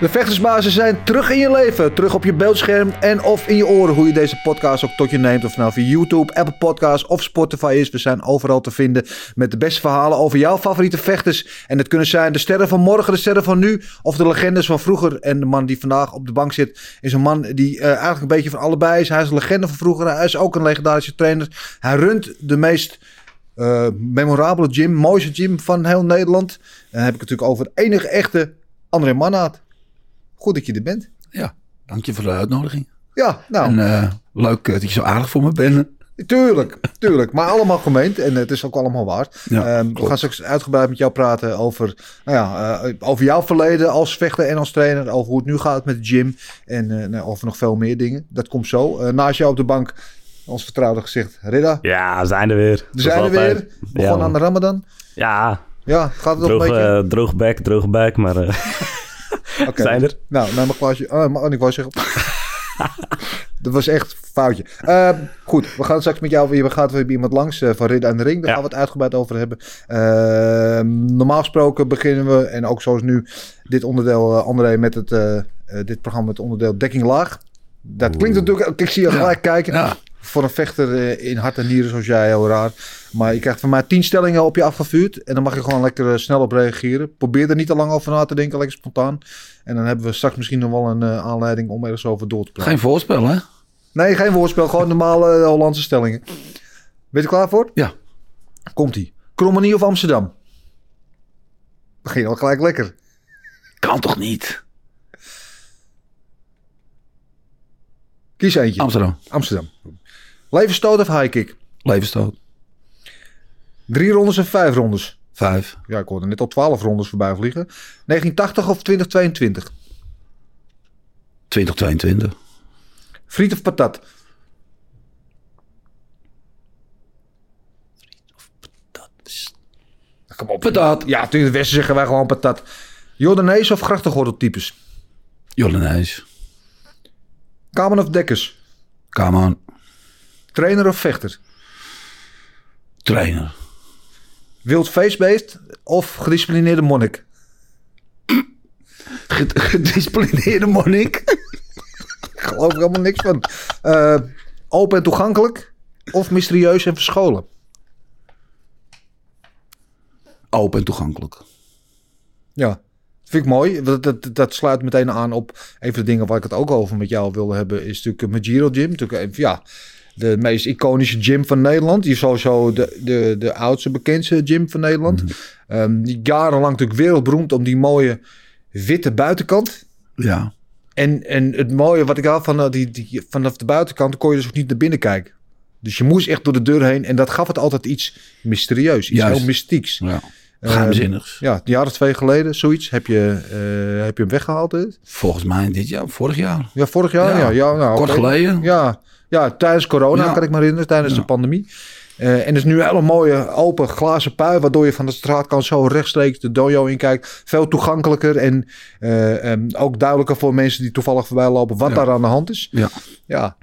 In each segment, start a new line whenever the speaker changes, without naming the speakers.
De vechtersbazen zijn terug in je leven, terug op je beeldscherm en of in je oren. Hoe je deze podcast ook tot je neemt, of het nou via YouTube, Apple Podcasts of Spotify is. We zijn overal te vinden met de beste verhalen over jouw favoriete vechters. En het kunnen zijn de sterren van morgen, de sterren van nu of de legendes van vroeger. En de man die vandaag op de bank zit is een man die eh, eigenlijk een beetje van allebei is. Hij is een legende van vroeger, hij is ook een legendarische trainer. Hij runt de meest eh, memorabele gym, mooiste gym van heel Nederland. En dan heb ik het natuurlijk over de enige echte André Mannaat. Goed dat je er bent.
Ja, dank je voor de uitnodiging.
Ja, nou,
En eh, leuk eh, dat je zo aardig voor me bent.
tuurlijk, tuurlijk. Maar allemaal gemeend en het is ook allemaal waar.
Ja,
Ehm, we
klopt.
gaan straks uitgebreid met jou praten over, nou ja, eh, over jouw verleden als vechter en als trainer. Over hoe het nu gaat met de gym en eh, nou, over nog veel meer dingen. Dat komt zo. Eh, naast jou op de bank, ons vertrouwde gezicht, Ridda.
Ja, we zijn er weer.
We zijn er weer. Begon aan de ramadan.
Ja,
Ja, gaat het nog een
droog,
beetje?
eh, droog bek, droog bek, maar eh,
Oké.
zijn er.
Nou, nou mijn glaasje. Oh, maar- oh, ik wou zeggen. Dat was echt een foutje. Ehm, goed, we gaan straks met jou weer. We gaan weer bij iemand langs eh, van Ridder aan de Ring. Daar
Ja.
gaan we het uitgebreid over hebben. Ehm, normaal gesproken beginnen we, en ook zoals nu, dit onderdeel, eh, André, met het, eh, eh, dit programma met het onderdeel Dekking Laag. Dat klinkt natuurlijk, ik zie je gelijk kijken.
Ja.
Voor een vechter eh, in hart en nieren zoals jij, heel raar. Maar je krijgt van mij tien stellingen op je afgevuurd. En dan mag je gewoon lekker eh, snel op reageren. Probeer er niet te lang over na te denken, lekker spontaan. En dan hebben we straks misschien nog wel een eh, aanleiding om ergens over door te praten.
Geen voorspel, hè?
Nee, geen woordspel, gewoon normale eh, Hollandse stellingen. Ben je er klaar voor?
Ja.
Komt-ie. Krommenie of Amsterdam? Begin al gelijk lekker.
Kan toch niet?
Kies eentje.
Amsterdam.
Amsterdam. Levenstoot of high kick?
Levenstoot.
Drie rondes of vijf rondes?
Vijf.
Ja, ik hoorde net al 12 rondes voorbij vliegen. 1980 of 2022?
2022.
Friet of patat?
Dat is...
Kom op.
Patat.
Ja, natuurlijk, in het Westen zeggen wij gewoon patat. Jordanees of grachtengordeltypes?
Jordanees.
Kamen of dekkers?
Kaman.
Trainer of vechter?
Trainer.
Wild feestbeest of gedisciplineerde monnik?
Ged- Gedisciplineerde monnik.
Ik geloof er helemaal niks van. Eh, open en toegankelijk of mysterieus en verscholen?
Open en toegankelijk.
Ja, vind ik mooi. want Dat, dat, dat sluit meteen aan op een van de dingen waar ik het ook over met jou wilde hebben. Is natuurlijk mijn Giro Gym. Natuurlijk, een- ja, de meest iconische gym van Nederland. Die is sowieso de, de, de oudste, bekendste gym van Nederland. Ehm, die jarenlang natuurlijk wereldberoemd om die mooie witte buitenkant.
Ja.
En, en het mooie wat ik had van eh, die, die, vanaf de buitenkant kon je dus ook niet naar binnen kijken. Dus je moest echt door de deur heen. En dat gaf het altijd iets mysterieus. Iets
Juist.
heel mystieks.
ja. Geheimzinnigs.
Ja, een jaar of twee geleden, zoiets. Heb je, eh, heb je hem weggehaald? hè?
Volgens mij dit jaar, vorig jaar.
Ja, vorig jaar? Ja,
Ja,
ja, nou,
Kort
oké.
geleden.
Ja, ja, tijdens corona
Ja.
kan ik me herinneren, tijdens
Ja.
de pandemie. Eh, en er is nu een hele mooie open glazen pui, waardoor je van de straatkant zo rechtstreeks de dojo in kijkt. Veel toegankelijker en eh, em, ook duidelijker voor mensen die toevallig voorbij lopen wat
Ja.
daar aan de hand is.
Ja.
Ja,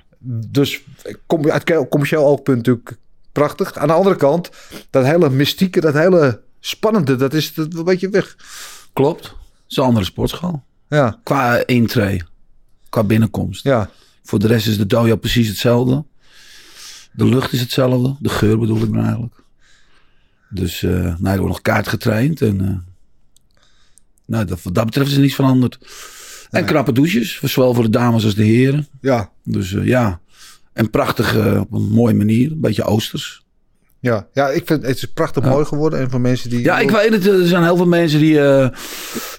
dus kom, uit ke- commercieel oogpunt natuurlijk prachtig. Aan de andere kant, dat hele mystieke, dat hele spannende, dat is dat, een beetje weg.
Klopt. Het is een andere sportschool.
Ja,
Qua intree. Qua binnenkomst.
ja.
Voor de rest is de doja precies hetzelfde. De lucht is hetzelfde. De geur bedoel ik maar eigenlijk. Dus eh nou, er wordt nog kaart getraind. En, eh, nou, dat, wat dat betreft is er niets veranderd. En knappe douches. Voor zowel voor de dames als de heren.
Ja,
Dus eh, ja. En prachtig eh, op een mooie manier. Een beetje oosters.
ja. ja ik vind het is prachtig mooi geworden. En voor mensen die.
Ja, ik weet het. Er zijn heel veel mensen die, eh,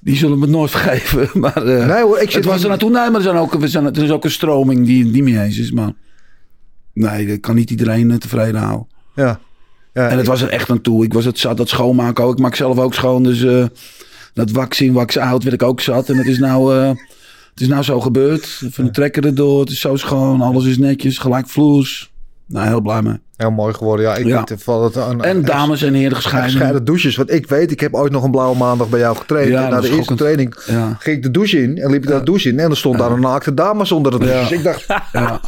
die zullen me het nooit vergeven. Maar, eh,
Nee hoor, ik zit
het was
niet-
er naartoe. Nee, maar er, zijn ook, er, zijn, er is ook een stroming die het niet mee eens is. Maar nee, dat kan niet iedereen eh, tevreden houden.
Ja. ja
En het was er echt aan toe. Ik was het zat, dat schoonmaken ook. Ik maak zelf ook schoon. Dus eh, dat wax in, wax out werd ik ook zat. En het is nou, eh, het is nou zo gebeurd. Van de trekker erdoor. Het is zo schoon. Alles is netjes. Gelijk vloers. Nou, heel blij mee.
Heel mooi geworden. Ja, ik
Ja.
vind het wel dat aan
En dames en heren gescheiden.
gescheiden douches. Want ik weet, ik heb ooit nog een blauwe maandag bij jou getraind.
Ja,
en na
dat
de
is
eerste
schokkend.
training
Ja.
ging ik de douche in en liep ik daar de douche in. En er stond daar een naakte dame zonder de douche.
Ja.
Dus ik dacht,
Ja,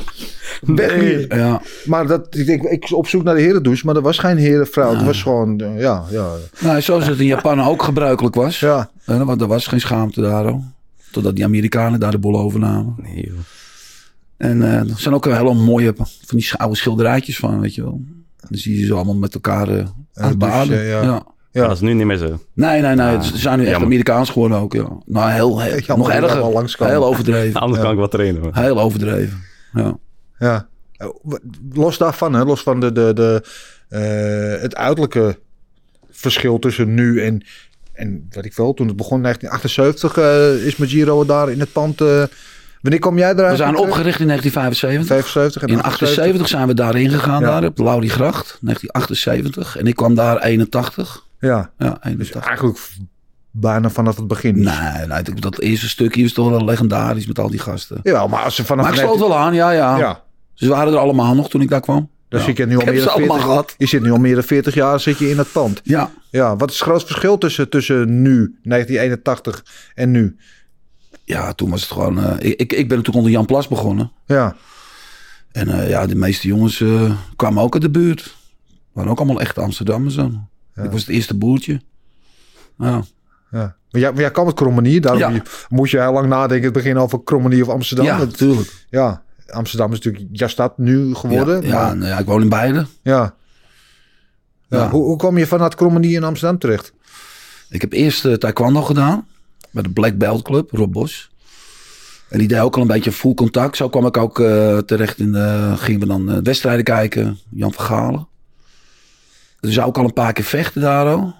weg hier.
ja.
Maar dat, ik, denk, ik op zoek naar de herendouche, maar er was geen herenvrouw. Het was gewoon, eh, ja, ja.
Nou, zoals het in Japan ook gebruikelijk was.
ja.
Eh, Want er was geen schaamte daar al. Totdat die Amerikanen daar de boel overnamen.
Nee, joh.
En eh, er zijn ook hele mooie van die sch- oude schilderijtjes van, weet je wel. Dan zie je ze allemaal met elkaar eh, aan het
douchen,
baden.
ja.
Ja.
Ja.
Dat is nu niet meer zo.
Nee, nee, nee. Ze zijn nu echt
jammer.
Amerikaans geworden ook. Ja. Nou, heel, heel-
Jammer
nog
dat we daar
erger.
wel langskomen.
Heel overdreven.
Anders kan ik wat trainen. man.
Heel overdreven. Ja.
ja. Eh, Los daarvan, hè, los van de, de, de, eh, het uiterlijke verschil tussen nu en, en wat ik wel, toen het begon in 1978 eh, is met Giro daar in het pand. eh, wanneer kom jij eruit?
We zijn
Terug?
opgericht in 1975.
75 en
In 78 zijn we daarin gegaan,
Ja.
daar op Lauriegracht, 1978. En ik kwam daar 81.
Ja,
Ja,
dus
81.
eigenlijk v- bijna vanaf het begin.
Nee, nee, dat- dat eerste stukje is toch wel legendarisch met al die gasten.
Jawel, maar als ze vanaf...
Maar ik sloot wel aan, ja, ja.
Ja,
Ze waren er allemaal nog toen ik daar kwam.
dus
Ja.
ik heb nu al
Ik heb
meer
ze
dan
allemaal
40
gehad.
Je zit nu al meer dan 40 jaar zit je in dat pand.
Ja,
Ja, wat is het grootste verschil tussen, tussen nu, 1981 en nu?
ja toen was het gewoon... eh, ik, ik ben natuurlijk onder Jan Plas begonnen.
Ja,
En eh, ja, de meeste jongens eh, kwamen ook uit de buurt. Waren ook allemaal echt Amsterdammers dan. Ik was het eerste boertje. Ja.
ja. Maar jij, maar jij kwam uit Krommenier, daarom
Ja.
je- moest je heel lang nadenken in het begin over Krommenier of Amsterdam.
ja,
Dat-
natuurlijk.
ja, Amsterdam is natuurlijk jouw stad nu geworden.
Ja, ja,
maar-
nou ja, ik woon in beide.
ja. Ja,
Ja.
Hoe, hoe kwam je vanuit Krommenier in Amsterdam terecht?
Ik heb eerst eh, taekwondo gedaan. Bij de Black Belt Club, Rob Bos. En die deed ook al een beetje full contact. Zo kwam ik ook eh, terecht in de... Gingen we dan eh, wedstrijden kijken. Jan van Galen. Dus zou ik al een paar keer vechten daar al.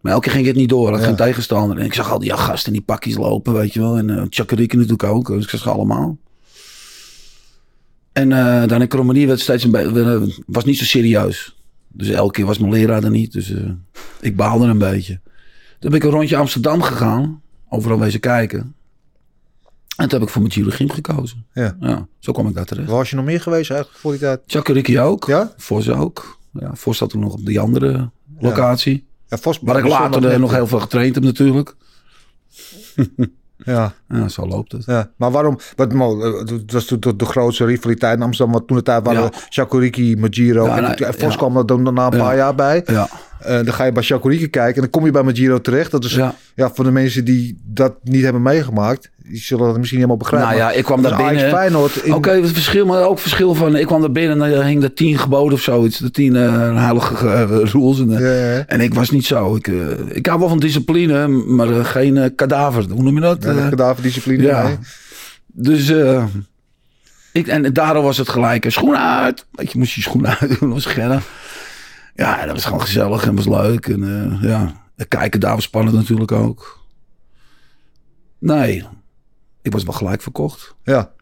Maar elke keer ging het niet door. Had geen tegenstander. En ik zag al die ja, gasten in die pakjes lopen, weet je wel. En uh, Tjakkerieken natuurlijk ook. Dus ik zag ze allemaal. En eh, dan in Krommenie werd steeds een beetje... Was niet zo serieus. Dus elke keer was mijn leraar er niet. Dus eh, ik baalde een beetje. Toen ben ik een rondje Amsterdam gegaan. Overal wezen kijken. En toen heb ik voor mijn Gym gekozen.
Ja.
Ja, zo kwam ik daar terecht.
Waar was je nog meer geweest eigenlijk voor die tijd?
Tjakkerieken ook.
Ja?
Vos ook. Ja, Vos zat toen nog op die andere locatie.
Ja, Vos,
Waar ik later eh, nog heel veel getraind heb natuurlijk.
Ja,
Ja, zo loopt het.
ja. Maar waarom? Wat, mo- eh, het was toen de, de grootste rivaliteit in Amsterdam. Want toen de tijd waren
Ja.
Chakuriki, Magiro.
Ja,
en
nou,
toen- Vos
ja.
kwam er dan na een
Ja.
paar jaar bij.
Ja,
Eh, dan ga je bij Chakuriki kijken en dan kom je bij Magiro terecht. Dat is ja.
Ja.
voor de mensen die dat niet hebben meegemaakt, die zullen dat misschien helemaal begrijpen.
Nou ja,
Maar
ik kwam
dat
daar
is Ajax
binnen.
Feyenoord in-
Oké, het verschil, maar ook verschil van... Ik kwam daar binnen en dan hing er tien geboden of zoiets. De tien eh, heilige eh, rules. En, eh,
Ja, ja, ja.
en ik was niet zo. Ik, eh, ik hou wel van discipline, maar eh, geen eh, kadaver. Hoe noem je dat?
Ja,
Eh,
kadaverdiscipline.
ja.
nee.
Dus eh, ik, en daarom was het gelijk. eh, Schoenen uit. Weet je, moest je schoenen uit doen. Dat was scherp. Ja, en dat was gewoon gezellig en was leuk. En eh, ja, het kijken daar was spannend natuurlijk ook. Nee, ik was wel gelijk verkocht.
ja.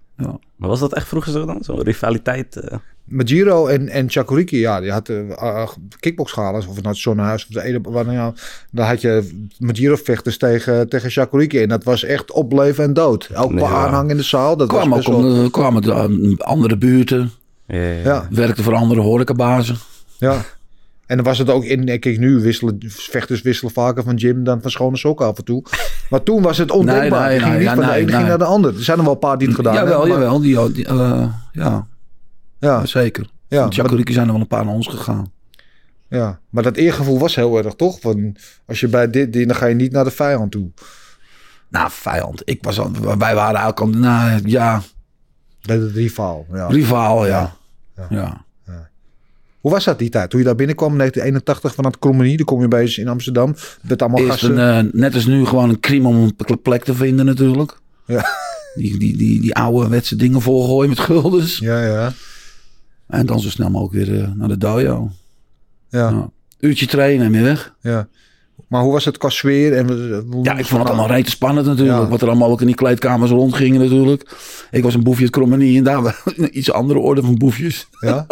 Maar was dat echt vroeger zo dan? Zo'n rivaliteit? eh?
Magiro en, en Chakuriki, ja, die had uh, kickboxschalen. Of het nou Zonnehuis of de ene. waar nou ja, dan had je Magiro-vechters tegen, tegen Chakuriki. En dat was echt op leven en dood. Elke
Ja.
aanhang in de zaal. Dat
Kwam
was
ook
best wel-
om, eh, kwamen er aan andere buurten.
Ja, ja, ja.
Ja.
Werkte voor andere horecabazen.
Ja. En dan was het ook in, eh, kijk nu wisselen, vechters wisselen vaker van gym dan van schone sokken af en toe. Maar toen was het ondenkbaar.
Nee, nee,
het ging
nee,
niet
ja,
van de
nee,
ene ging
nee.
naar de ander. Er zijn er wel een paar die het gedaan
jawel,
hebben. maar-
jawel. Die, die, eh, ja,
Ja,
zeker.
Ja,
Ja, zijn er wel een paar naar ons gegaan.
ja, maar dat eergevoel was heel erg, toch? Van, als je bij dit, dit, dan ga je niet naar de vijand toe.
Nou, vijand. Ik was al, wij waren eigenlijk al... Nou, ja,
Bij de rivaal, ja.
Rivaal, ja.
Ja.
ja.
Hoe was dat die tijd? Toen je daar binnenkwam, 1981, vanuit Krommenie, dan kom je bij eens in Amsterdam. Met allemaal
Eerst
gasten.
een, eh, net als nu gewoon een crime om een pl- plek te vinden natuurlijk.
Ja.
Die, die, die, die ouderwetse dingen volgooien met guldens.
Ja, ja,
En dan zo snel mogelijk weer eh, naar de dojo.
ja,
Ja. Uurtje trainen en weer weg.
ja. Maar hoe was het qua sfeer? En, eh, hoe-
Ja, ik vond het allemaal rete spannend natuurlijk.
Ja.
Wat er allemaal ook in die kleedkamers rondgingen natuurlijk. Ik was een boefje uit Krommenie en daar wel een iets andere orde van boefjes.
Ja?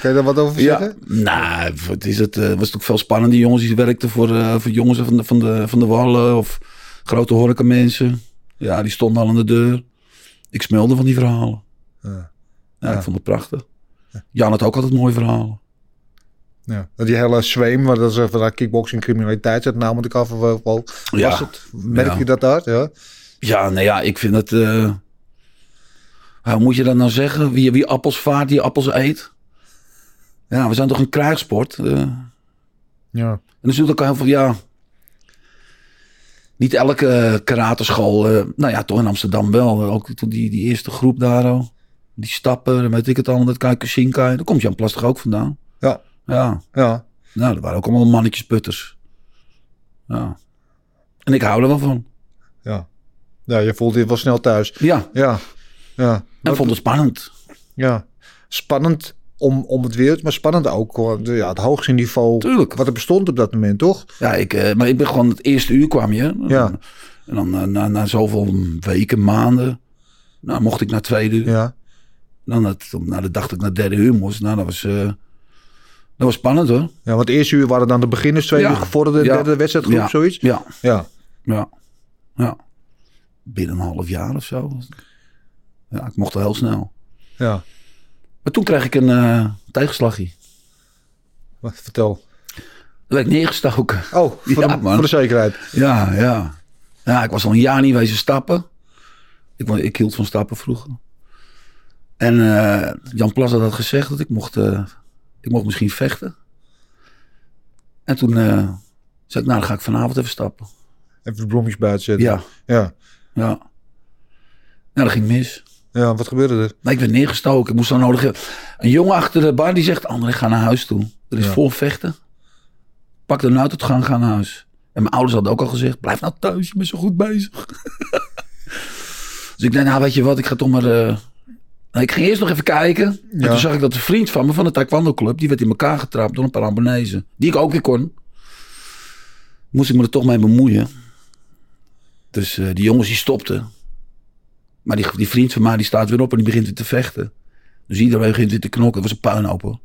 Kan je daar wat over zeggen?
Nou, wat is het eh, was natuurlijk veel spannend. Die jongens die werkten voor, eh, voor jongens van de, van, de, van de wallen of grote horecamensen. Ja, die stonden al aan de deur. Ik smelde van die verhalen.
Ja.
Ja, Ik vond het prachtig. Jan had ook altijd mooie verhalen.
Ja. Die hele zweem, waar dat is even dat kickboxing criminaliteit zet, nou moet ik af wel, wel-
Ja.
was het. Merk
Ja.
je dat daar? Ja.
Ja, nou ja, ik vind het... eh, hoe moet je dat nou zeggen? Wie, wie appels vaart, die appels eet. Ja, we zijn toch een krijgssport. eh.
ja.
En dus natuurlijk heel veel, ja. Niet elke eh, karateschool, eh, nou ja, toch in Amsterdam wel. eh, Ook toen die, die eerste groep daar al. Die stappen, weet ik het allemaal, dat Kaikusinkai. Daar komt Jan Plastig ook vandaan.
Ja.
Ja,
Ja.
nou, dat waren ook allemaal mannetjesputters. Ja. En ik hou er wel van.
Ja. Ja, je voelt dit wel snel thuis.
Ja,
Ja. Ja.
en vond het spannend.
Ja. Spannend om, om het weer, maar spannend ook. hoor. De- Ja, het hoogste niveau
Tuurlijk.
wat er bestond op dat moment, toch?
Ja, ik, eh, maar ik ben gewoon het eerste uur kwam je.
Ja.
En dan eh, na, na zoveel weken, maanden. Nou, mocht ik naar tweede uur.
Ja.
Dan het, nou, dan dacht ik naar derde uur moest. Nou, dat was, eh, dat was spannend hoor.
Ja, want eerst uur waren dan de beginners, tweede
Ja.
uur gevorderde,
Ja.
derde wedstrijdgroep,
Ja.
zoiets.
Ja,
Ja.
ja, ja. Binnen een half jaar of zo. Ja, ik mocht al heel snel.
Ja.
Maar toen kreeg ik een eh, tegenslagje.
Wat, vertel.
Dat werd ik neergestoken.
Oh, voor,
Ja,
de,
man.
voor de zekerheid.
Ja, ja. Ja, ik was al een jaar niet wezen stappen. Ik, wa- ik hield van stappen vroeger. En eh, Jan Plas had gezegd dat ik mocht, eh, ik mocht misschien vechten. En toen eh, zei ik, nou dan ga ik vanavond even stappen.
Even de bloemetjes buiten zetten.
Ja,
Ja.
ja. Nou, dat ging mis.
Ja, wat gebeurde er?
Maar ik werd neergestoken. Ik moest dan nodig. Een jongen achter de bar die zegt: André, ga naar huis toe. Er is
Ja.
vol vechten. Pak de uit het gang, ga naar huis. En mijn ouders hadden ook al gezegd: Blijf nou thuis, je bent zo goed bezig. dus ik dacht: Nou, weet je wat, ik ga toch maar. eh, Nou, ik ging eerst nog even kijken. En
Ja.
toen zag ik dat een vriend van me van de Taekwondo Club. die werd in elkaar getrapt door een paar Ambanezen. Die ik ook weer kon. Moest ik me er toch mee bemoeien. Dus eh, die jongens die stopten. Maar die, die vriend van mij die staat weer op en die begint weer te vechten. Dus iedereen begint weer te knokken. Het was een puinhoop.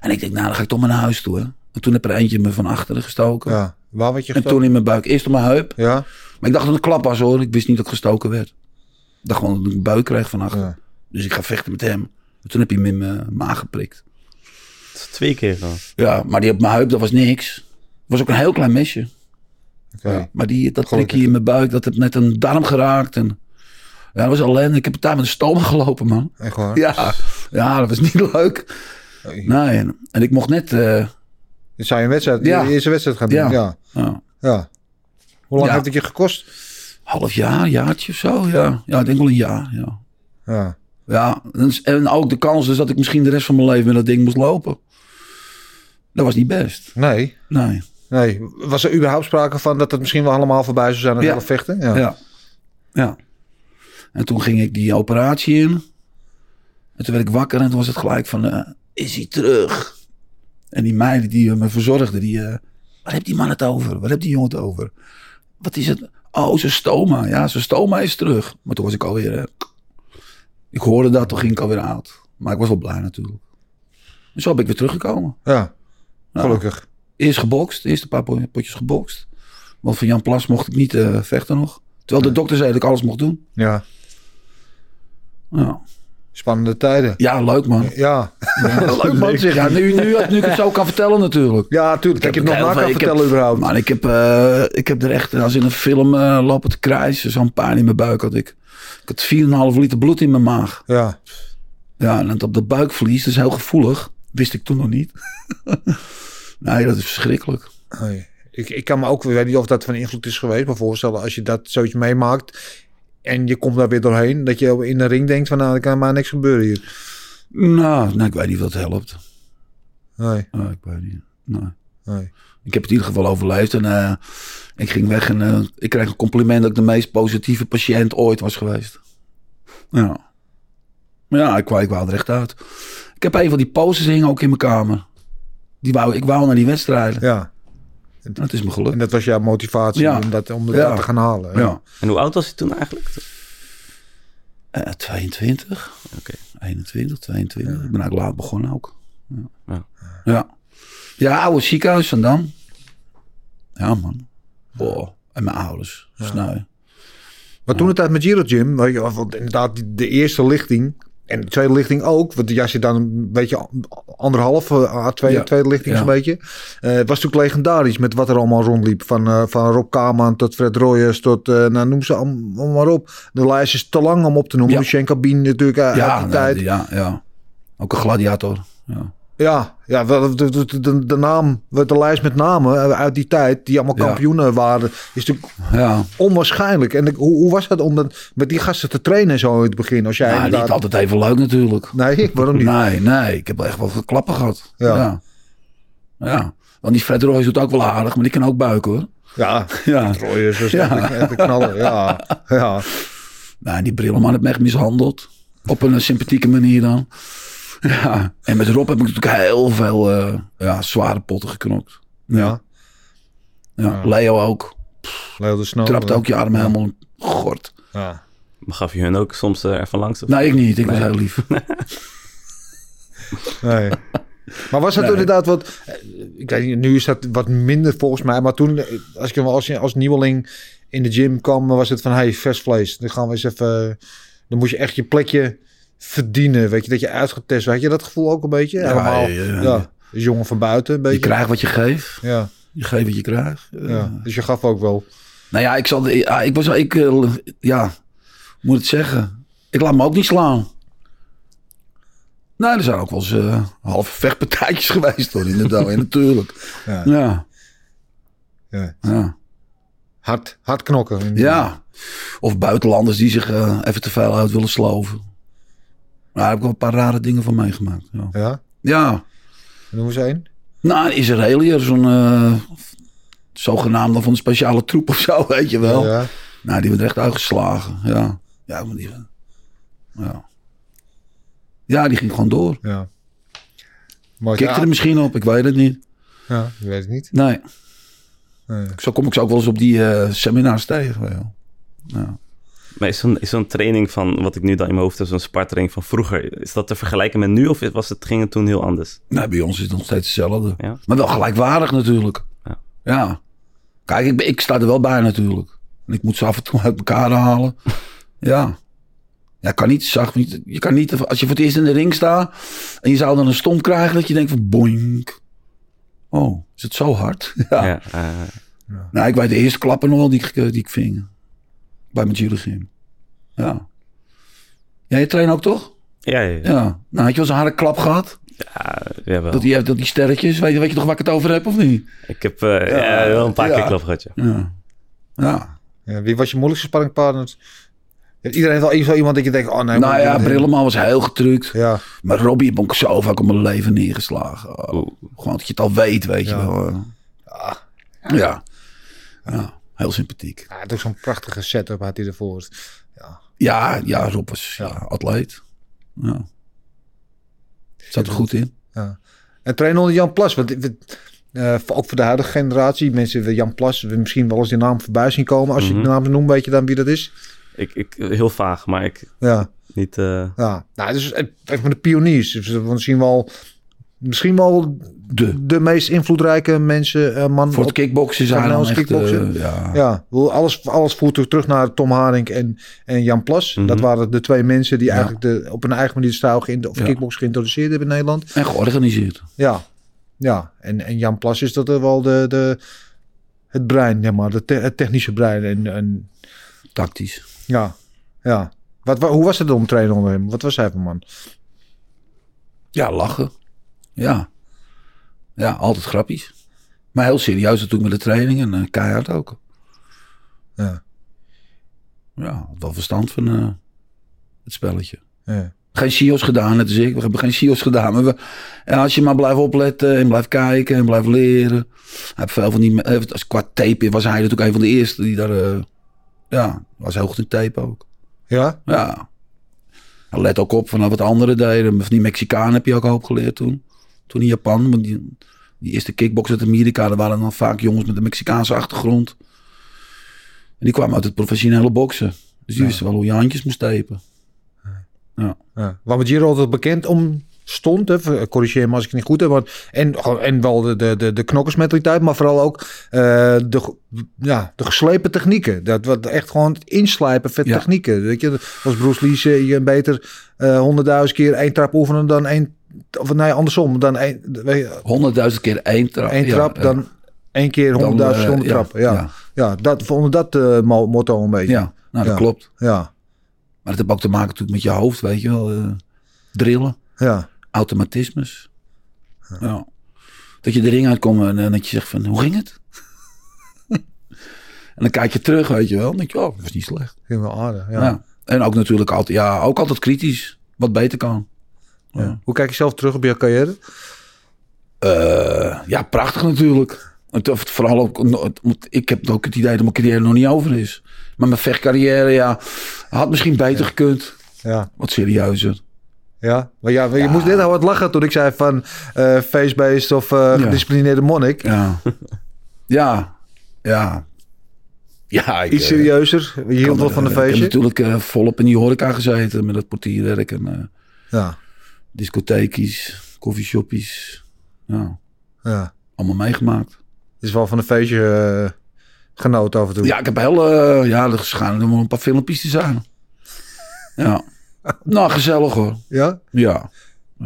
En ik denk, nou, dan ga ik toch maar naar huis toe. Hè. En toen heb er eentje me van achteren gestoken.
Ja. Waar werd je
en
gestoken?
toen in mijn buik. Eerst op mijn heup.
Ja.
Maar ik dacht dat het een klap was hoor. Ik wist niet dat ik gestoken werd. Ik dacht gewoon dat ik een buik kreeg van achteren.
Ja.
Dus ik ga vechten met hem. En toen heb hij me in mijn maag geprikt.
Twee keer gewoon.
Ja, maar die op mijn heup, dat was niks. Het was ook een heel klein mesje.
Oké.
Ja, maar die, dat
Gelukkig.
prikje in mijn buik, dat heb net een darm geraakt. En, ja, dat was ellende. Ik heb het daar met een stoom gelopen, man.
Echt waar?
Ja, ja, dat was niet leuk.
Nee.
Nee, en, en ik mocht net... eh,
Dit zou je een wedstrijd,
Ja.
je eerste wedstrijd gaan doen. Ja.
Ja.
ja.
ja,
Hoe lang
Ja.
heeft het je gekost?
half jaar, jaartje of zo. Ja, ja ik denk wel een jaar. Ja.
Ja.
Ja, en, en ook de kans dus dat ik misschien de rest van mijn leven met dat ding moest lopen. Dat was niet best.
Nee.
Nee.
Nee. Was er überhaupt sprake van dat het misschien wel allemaal voorbij zou zijn en
Ja.
hele vechten? Ja.
Ja. ja. En toen ging ik die operatie in. En toen werd ik wakker en toen was het gelijk van, eh, is hij terug? En die meiden die eh, me verzorgden, die, eh, waar heeft die man het over? Waar heeft die jongen het over? Wat is het? Oh, zijn stoma. Ja, zijn stoma is terug. Maar toen was ik alweer, eh, ik hoorde dat, toen ging ik alweer oud. Maar ik was wel blij natuurlijk. En zo ben ik weer teruggekomen.
Ja.
Nou,
Gelukkig.
Eerst gebokst, eerst een paar po- potjes gebokst. Want van Jan Plas mocht ik niet eh, vechten nog. Terwijl de dokter zei dat ik alles mocht doen.
Ja.
Ja,
Spannende tijden.
ja leuk man.
Ja.
leuk man zeg. Ja, nu, nu, nu ik het zo kan vertellen natuurlijk.
Ja, tuurlijk. Dat je
heb
het nog
heel
na
veel-
kan
ik heb-
vertellen überhaupt.
Maar ik heb, eh, ik heb er echt als in een film eh, lopen te krijsen. Zo'n pijn in mijn buik had ik. Ik had 4,5 liter bloed in mijn maag.
Ja.
Ja, en het op de buikvlies, dat is heel gevoelig. Wist ik toen nog niet. nee, dat is verschrikkelijk.
Nee. Ik, ik kan me ook, ik weet niet of dat van invloed is geweest, maar voorstellen als je dat zoiets meemaakt en je komt daar weer doorheen, dat je in de ring denkt van nou, er kan maar niks gebeuren hier.
Nou, nou ik weet niet of dat helpt.
Nee,
Ah, ik weet niet. Nee.
nee.
Ik heb het in ieder geval overleefd. En eh, ik ging weg en eh, ik kreeg een compliment dat ik de meest positieve patiënt ooit was geweest. Ja. Maar Ja, ik wou, ik wou er echt uit. Ik heb een van die posters hingen ook in mijn kamer. Die wou, ik wou naar die wedstrijden.
Ja,
Dat is me
en
gelukt.
dat was jouw motivatie
Ja.
om dat, om dat
Ja.
te gaan halen. hè?
Ja.
En hoe oud was hij toen eigenlijk?
Eh, 22.
Oké.
21, 22. Ik ben eigenlijk laat begonnen ook.
Ja.
Ja. Ja, ja oude ziekenhuis van Dam. Ja, man. Boah. En mijn ouders. Snui.
Maar toen het tijd met Giro Jim, weet je, want inderdaad die- de eerste lichting, En de tweede lichting ook. Want jij zit dan een beetje anderhalf eh, A2,
Ja.
tweede lichting
Ja.
een beetje. Eh, het was natuurlijk legendarisch met wat er allemaal rondliep. Van, eh, van Rob Kaman tot Fred Royers tot, eh, nou noem ze allemaal maar op. De lijst is te lang om op te noemen.
Ja.
Lucien Bin natuurlijk eh, uit
ja,
die
nou,
tijd.
ja, ja. Ook een gladiator. Ja.
Ja, ja wel, de, de, de, de naam, de lijst met namen eh, uit die tijd die allemaal
Ja.
kampioenen waren. Is natuurlijk
ja.
onwaarschijnlijk. En ik- hoe, hoe was dat om dan met die gasten te trainen en zo in het begin? Als jij
Nou,
inderdaad...
niet altijd even leuk natuurlijk.
Nee, waarom niet?
Nee, nee. Ik heb echt wel wat klappen gehad.
Ja.
Ja. ja. Want die Fred Royce doet ook wel aardig, maar die kan ook buiken hoor.
Ja,
Ja.
Troyers was
Ja.
echt echt een knaller. Ja, ja.
Nou, die Brilleman heeft me echt mishandeld. Op een eh, sympathieke manier dan. Ja. En met Rob heb ik natuurlijk heel veel eh, ja, zware potten geknokt.
ja.
Ja. Leo ook.
Leo de Snow.
Trapt ook je arm helemaal in gort.
Ja.
Maar gaf je hun ook soms eh, ervan langs? Of?
Nou.
Nee, ik niet. Ik was heel lief.
Nee. Maar was dat
Nee.
inderdaad wat... eh, Ik weet niet, nu is dat wat minder volgens mij. Maar toen, eh, als ik hem als, als nieuweling in de gym kwam... was het van, hey, vers vlees. Dan gaan we eens even... eh, Dan moest je echt je plekje verdienen. Weet je, dat je uitgetest werd. Had je dat gevoel ook een beetje?
Ja,
Helemaal,
ja,
ja.
ja.
als jongen van buiten een beetje.
Je krijgt wat je geeft.
Ja,
Je geeft wat je krijgt. Eh,
ja. Dus je gaf ook wel.
Nou ja, ik zal. ja, Ik was. Ik, eh, ja, hoe moet het zeggen. Ik laat me ook niet slaan. Nou, er zijn ook wel eens eh, halve vechtpartijtjes geweest hoor, inderdaad. en natuurlijk.
Ja.
Ja.
Ja.
Ja.
Hard, hard knokken.
ja. Of buitenlanders die zich eh, even te veel uit willen sloven. Nou, daar heb ik wel een paar rare dingen van meegemaakt. Ja.
Ja,
ja.
noemen ze één.
Nou, een Israëliër, zo'n eh zogenaamde van de speciale troep of zo, weet je wel.
Ja.
Nou, die werd er echt uitgeslagen. Ja, ja, maar die, ja. ja die ging gewoon door.
Ja. Maar
Kikte er misschien op, ik weet het niet.
ja, ik weet het niet.
Nee,
Nee.
zo kom ik ze ook wel eens op die eh, seminars tegen. weet je wel.
Maar is zo'n is zo'n training van, wat ik nu dan in mijn hoofd heb, zo'n spartraining van vroeger, is dat te vergelijken met nu of was het, ging het toen heel anders?
Nee, bij ons is het nog steeds hetzelfde.
Ja.
Maar wel gelijkwaardig natuurlijk.
Ja.
Ja. Kijk, ik, ben- ik sta er wel bij natuurlijk. En ik moet ze af en toe uit elkaar halen. ja. Ja, kan niet zacht. Niet, je kan niet, als je voor het eerst in de ring staat en je zou dan een stomp krijgen, dat je denkt van boink. Oh, is het zo hard? ja.
Ja, eh,
Nou, ik weet de eerste klappen nog wel die ik, eh, die ik ving. Bij mijn judo-gym. Ja. Ja, je traint ook toch?
ja, ja, ja.
Ja. Nou, had je wel zo'n harde klap gehad?
Ja, jawel.
Dat die, eh, dat die sterretjes, weet, je- weet je toch waar ik het over heb of niet?
Ik heb eh, ja, wel een paar
ja.
keer klap gehad, ja.
Ja. Ja.
Ja, wie was je moeilijkste sparringpartner? Iedereen heeft wel zo iemand dat je denkt, oh nee.
nou
moet ik
ja,
niet
Brilleman was heel getrukt.
doen. Ja,
Maar Robbie heb ik zo vaak op mijn leven neergeslagen. Oh,
Oeh.
Gewoon dat je het al weet, weet
Ja.
je wel. eh. Ja. Ja. Heel sympathiek.
hij had ook zo'n prachtige setup had hij ervoor. Ja.
Ja, ja Rob was ja,
Ja.
atleet. Ja. Zat er goed in.
ja. En trainen onder Jan Plas, want eh, eh, voor- ook voor de huidige generatie, mensen, eh, Jan Plas, we misschien wel eens die naam voorbij zien komen. Als je
Mhm.
de naam noemt, weet je dan wie dat is?
Ik, ik, heel vaag, maar ik
Ja,
niet... eh,
ja. Nou, dus eh, een van de pioniers. Dus, eh, misschien wel, misschien wel
De.
de meest invloedrijke mensen, eh man
Voor
op-
het kickboksen
voor
zijn dan
Nederlands
echt...
kickboksen?
eh, ja.
Ja, ik bedoel, alles, alles voert terug- terug naar Tom Haring en, en Jan Plas.
Mhm.
Dat waren de twee mensen die eigenlijk de, op hun eigen manier de stijl geïnter- of
Ja.
kickbox geïntroduceerd hebben in Nederland.
En georganiseerd.
Ja, ja. En, en Jan Plas is dat er wel de, de, het brein, ja maar, de te- het technische brein. En, en,
Tactisch.
ja, ja. Wat, wa- hoe was het om trainen onder hem? Wat was hij voor man?
Ja, lachen. Ja. Ja, altijd grappies. Maar heel serieus natuurlijk met de training en eh, keihard ook.
Ja,
Ja, had wel verstand van eh, het spelletje.
ja.
Geen CIO's gedaan, net als ik. We hebben geen CIO's gedaan. Maar we, en als je maar blijft opletten en blijft kijken en blijft leren. Hij heeft veel van die... me- eh, Als qua tape was hij natuurlijk een van de eerste die daar... eh, ja, was heel goed in tape ook.
ja?
Ja. En Let ook op van wat anderen deden. Van die Mexicaan heb je ook een hoop geleerd toen. Toen in Japan. Want die, die eerste kickbox uit Amerika. Daar waren dan vaak jongens met een Mexicaanse achtergrond. En die kwamen uit het professionele boksen. Dus die wisten wel hoe je handjes moest tapen.
ja. Waarom werd Giro altijd bekend om stond. Hè, Ver- corrigeer me als ik het niet goed heb. Want, en, gewoon- en wel de, de, de, de knokkersmentaliteit, maar vooral ook eh, de, ge- ja, de geslepen technieken. Dat, wat echt gewoon het inslijpen van
Ja.
technieken. Weet je, als Bruce Lee zei, je beter eh, honderdduizend keer één trap oefenen dan één... Of nee, andersom. Dan één, weet je,
Honderdduizend keer één trap.
één
Ja, eh,
trap,
ja.
dan één keer
Dan,
honderdduizend
eh,
verschillende
ja,
trappen. Ja, ja.
ja.
dat, onder dat eh, mo- motto een beetje.
Ja, nou dat
Ja.
klopt.
ja.
Maar het heeft ook te maken natuurlijk met je hoofd, weet je wel. eh, drillen,
ja.
automatismes. Ja. Dat je de ring uitkomt en, eh, dat je zegt van, hoe ging het? en dan kijk je terug, weet je wel. Dan denk je, oh, dat was niet slecht.
Ging wel aardig. Ja.
Ja. En ook natuurlijk altijd, ja, ook altijd kritisch. Wat beter kan.
Ja. Hoe kijk je zelf terug op je carrière?
Eh, ja, prachtig natuurlijk. Het- of het Vooral ook, want ik heb ook het idee dat mijn carrière nog niet over is. Maar mijn vechtcarrière, ja, had misschien beter gekund.
Ja.
Wat serieuzer.
Ja, maar ja, maar je moest net al wat lachen toen ik zei van eh face-based of eh, gedisciplineerde monnik.
Ja. ja. Ja. Ja, ik,
Iets
eh,
serieuzer. Je hield wel
kan-
van een
eh, Ik heb
feestje.
natuurlijk eh, volop in die horeca gezeten. Met dat portierwerk en eh
Ja,
discotheekjes, koffieshoppies. Ja,
ja.
allemaal meegemaakt.
Is wel van een feestje eh, genoten af en toe.
Ja, ik heb heel... eh, ja, er schijnen er wel een paar filmpjes te zijn. Ja. Nou, gezellig hoor.
Ja?
Ja.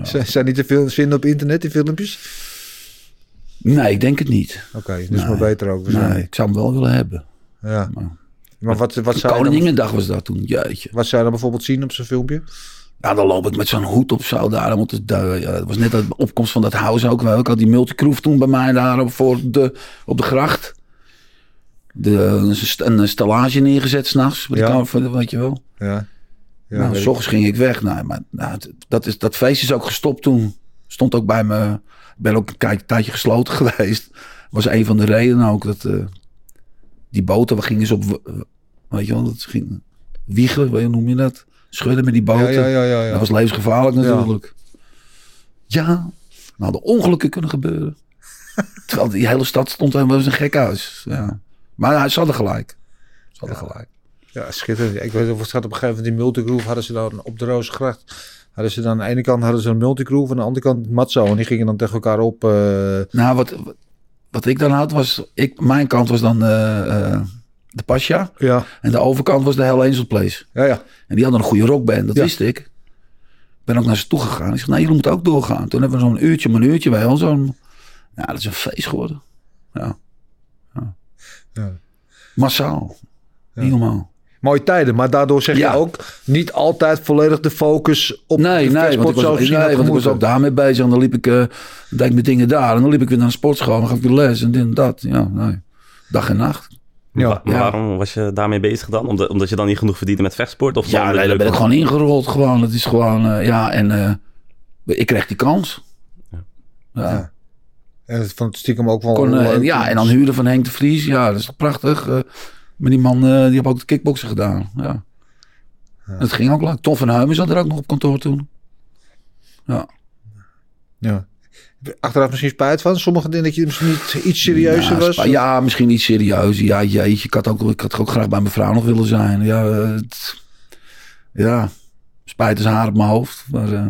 Z- Zijn niet te veel te vinden op internet, die filmpjes?
Nee, ik denk het niet.
Oké, dus maar beter ook. Dus
Nee, ik zou hem wel willen hebben.
ja. Ja. Maar wat, wat, zou je dan,
Koninginnedag was dat toen, jeetje.
wat zou je dan bijvoorbeeld zien op zo'n filmpje?
Nou, dan loop ik met zo'n hoed op zo daar. Want het, eh, ja, het was net de opkomst van dat house ook wel. Ik had die multicroef toen bij mij daar op, voor de, op de gracht. De, een, st- een stallage neergezet s'nachts.
Ja.
Ja. Weet je wel.
Ja. Ja,
nou,
weet ik.
s ochtends ging ik weg. Nou, maar, nou, het- dat, is, dat feest is ook gestopt toen. Stond ook bij me. Ik ben ook een kei- tijdje gesloten geweest. Was een van de redenen ook. Dat, eh, die boten, we gingen ze op... w- w- Weet je wel, dat ging wiegen, weet je, hoe noem je dat? Schudden met die
ja,
boten.
ja, ja, ja, ja.
Dat was levensgevaarlijk natuurlijk. Ja, nou de ongelukken kunnen gebeuren. Terwijl die hele stad stond en was een gekhuis. Ja. Maar hij ze hadden gelijk. Ze hadden gelijk.
Ja, schitterend. Ik weet niet of het gaat op een gegeven moment die multigroove hadden ze dan op de Roosgracht. Hadden ze dan aan de ene kant hadden ze een multigroove, aan de andere kant matzo. En die gingen dan tegen elkaar op. eh,
Nou, wat, wat, wat ik dan had was... Ik, mijn kant was dan eh, eh, de Pasja.
ja,
En de overkant was de Hell Angel Place.
ja, ja.
En die hadden een goede rockband, dat
Ja.
wist ik. Ik ben ook naar ze toe gegaan. Ik zei, nou, jullie moeten ook doorgaan. Toen hebben we zo'n uurtje, maar een uurtje bij al zo'n... Ja, dat is een feest geworden. Ja. ja.
Ja.
Massaal. Niet normaal.
Mooie tijden, maar daardoor zeg
Ja.
je ook niet altijd volledig de focus op
Nee,
de
nee, want ik
vechtsport
was,
zoals je
nee,
dat
want ik was
gemoeten.
ook daarmee bezig. En dan liep ik, eh deed ik mijn dingen daar. En dan liep ik weer naar een sportschool. En dan gaf ik weer les en dit en dat. Ja, nee. Dag en nacht.
Ja.
Wa- Waarom was je daarmee bezig dan? Omdat, omdat je dan niet genoeg verdiende met vechtsport? Of
Ja,
omdat
nee,
je
daar ben ik
leuk
gewoon ingerold. Gewoon. Het is gewoon, eh, ja, en eh, ik kreeg die kans. ja.
En dat vond ik stiekem ook wel
Kon, eh,
Oh, leuk.
en ja, en dan huren van Henk de Vries. Ja, dat is toch prachtig. eh maar die man, eh, die heb ook de kickboksen gedaan. Ja. Dat ging ook lang. Tom van Huimen zat er ook nog op kantoor toen. Ja.
Ja. Achteraf misschien spijt van. Sommige dingen dat je misschien niet iets serieuzer
ja,
was.
spa- Ja, misschien iets serieus. Ja, jeetje, ik had, ook, ik had ook graag bij mijn vrouw nog willen zijn. Ja, eh, het- ja. spijt is haar op mijn hoofd. Maar eh,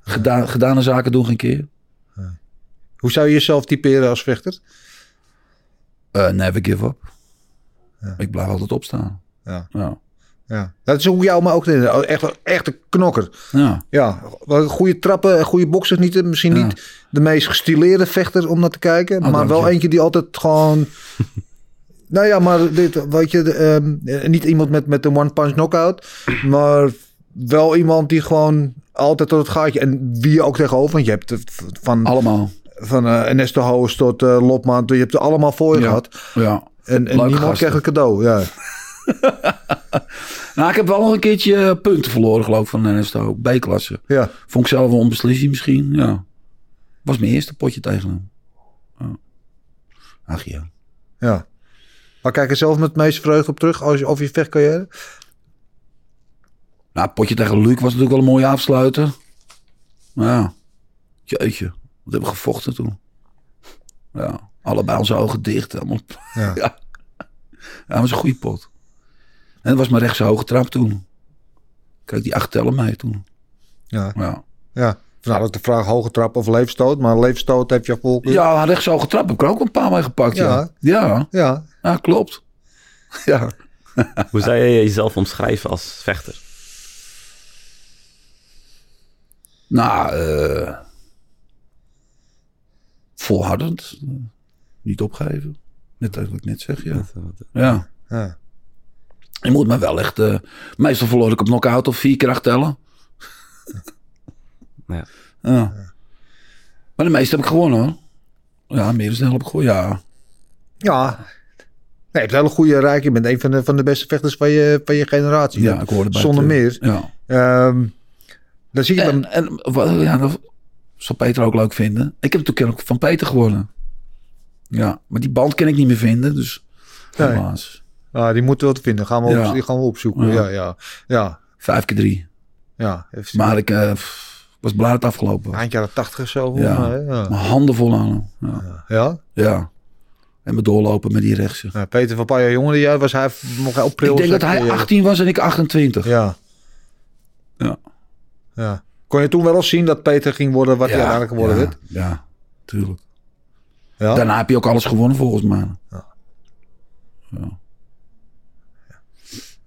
gedaan, gedane zaken doen geen keer.
Hoe zou je jezelf typeren als vechter?
Eh, never give up. Ik blijf altijd opstaan.
Ja.
Ja.
Ja. Dat is ook jou, maar ook Oh, echt, echt een knokker.
ja.
Ja, wel goede trappen, goede boksers. Niet, misschien
Ja.
niet de meest gestileerde vechter om naar te kijken.
Oh,
maar
dank
wel
je.
eentje die altijd gewoon... nou ja, maar dit, weet je, de, ehm, eh, niet iemand met, met een one-punch knockout. Maar wel iemand die gewoon altijd tot het gaatje... En wie je ook tegenover, want je hebt eh, v- van,
Allemaal.
van eh, Ernesto Hoos tot eh, Lopman... Je hebt er allemaal voor je
Ja.
gehad.
Ja.
En, en
Leuke
niemand
gasten.
kreeg een cadeau, ja.
Nou, ik heb wel nog een keertje eh, punten verloren, geloof ik, van Ernesto. B-klasse.
ja.
Vond ik zelf wel onbeslissing misschien, ja. Was mijn eerste potje tegen hem. Ja. Ach ja.
Ja. Maar kijk er zelf met het meeste vreugde op terug als je, over je vechtcarrière.
Nou, potje tegen Luc was natuurlijk wel een mooie afsluiter. Maar ja, jeetje. Wat hebben we gevochten toen. Ja, allebei onze ogen dicht. Helemaal.
Ja.
Ja. ja. dat was een goede pot. En dat was mijn rechtse hoge trap toen. Kijk, die acht tellen mij toen.
Ja.
Ja.
Ja, Nou, dat de vraag hoge trap of leefstoot. Maar leefstoot heb je volgens...
Ja, aan rechts ogen trap heb ik er ook een paar mee gepakt. Ja, ja.
ja.
ja klopt. Ja.
Hoe zou je jezelf omschrijven als vechter?
Nou, eh volhardend. Niet opgeven. Net als wat ik net zeg, ja.
eh,
ja.
ja.
Je moet me wel echt... eh, meestal verloor ik op knock-out of vier keer acht tellen.
Ja.
Ja. Maar de meeste heb ik gewonnen, hoor. Ja, meer dan de helft heb ik gewonnen, ja.
Ja. Nee, je hebt een hele goede rijk. Je bent een van de, van de beste vechters van je, van je generatie.
Ja, ik hoorde bij
Zonder
het, eh,
meer.
Ja.
Ehm, dan zie je
En,
dan...
en wat, ja, dat zal Peter ook leuk vinden. Ik heb natuurlijk ook van Peter gewonnen. Ja, maar die band kan ik niet meer vinden, dus
Nee.
helaas.
Ah, die moeten we wel te vinden. Gaan we op-
Ja.
die gaan we opzoeken.
Ja.
Ja, ja. Ja,
Vijf keer drie.
ja. Even zien.
Maar ik eh, pff, was blij dat het afgelopen was.
Eind jaren tachtig of zo.
Ja.
volgens mij, Ja.
Mijn handen vol aan hem. Ja.
ja.
ja. En me doorlopen met die rechtse.
Nou, Peter van een paar jaar jonger dan jij was. Hij nog heel pril.
Ik denk dat
zeg,
hij
eh,
18 was en ik 28.
Ja.
Ja.
ja. Kon je toen wel al zien dat Peter ging worden wat hij uiteindelijk geworden
ja,
werd?
Ja, tuurlijk.
Ja.
Daarna heb je ook alles gewonnen volgens mij.
Ja.
Ja,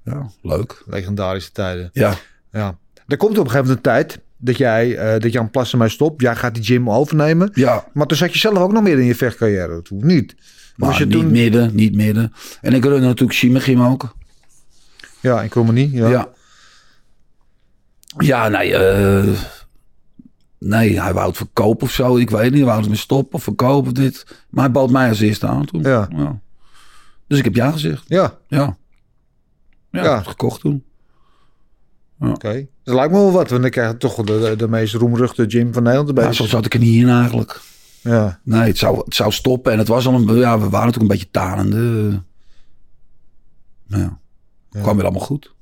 ja leuk.
Legendarische tijden.
Ja.
Ja. Er komt op een gegeven moment een tijd dat jij, eh, dat Jan Plassen mij stopt. Jij gaat die gym overnemen.
Ja,
Maar toen zat je zelf ook nog meer in je vechtcarrière. Toen niet.
maar
Was je
niet
toen...
midden, niet midden. En ik runde natuurlijk Shimegim ook.
Ja, in Krommenie. Ja.
Ja.
Ja.
Ja, nee. eh, nee, hij wou het verkopen of zo. Ik weet niet, hij wou het me stoppen of verkopen of dit. Maar hij bood mij als eerste aan toen.
Ja.
Dus ik heb ja gezegd.
ja.
Ja.
Ja.
Ja, ik heb het gekocht toen.
Oké. Dat lijkt me wel wat. Want dan krijg je toch de, de, de meest roemruchte gym van Nederland erbij.
Maar zo zat ik er niet in eigenlijk.
Ja.
Nee, het zou, het zou stoppen. En het was al een... Ja, we waren natuurlijk een beetje tanende. Nou ja.
Ja.
Kwam weer allemaal goed.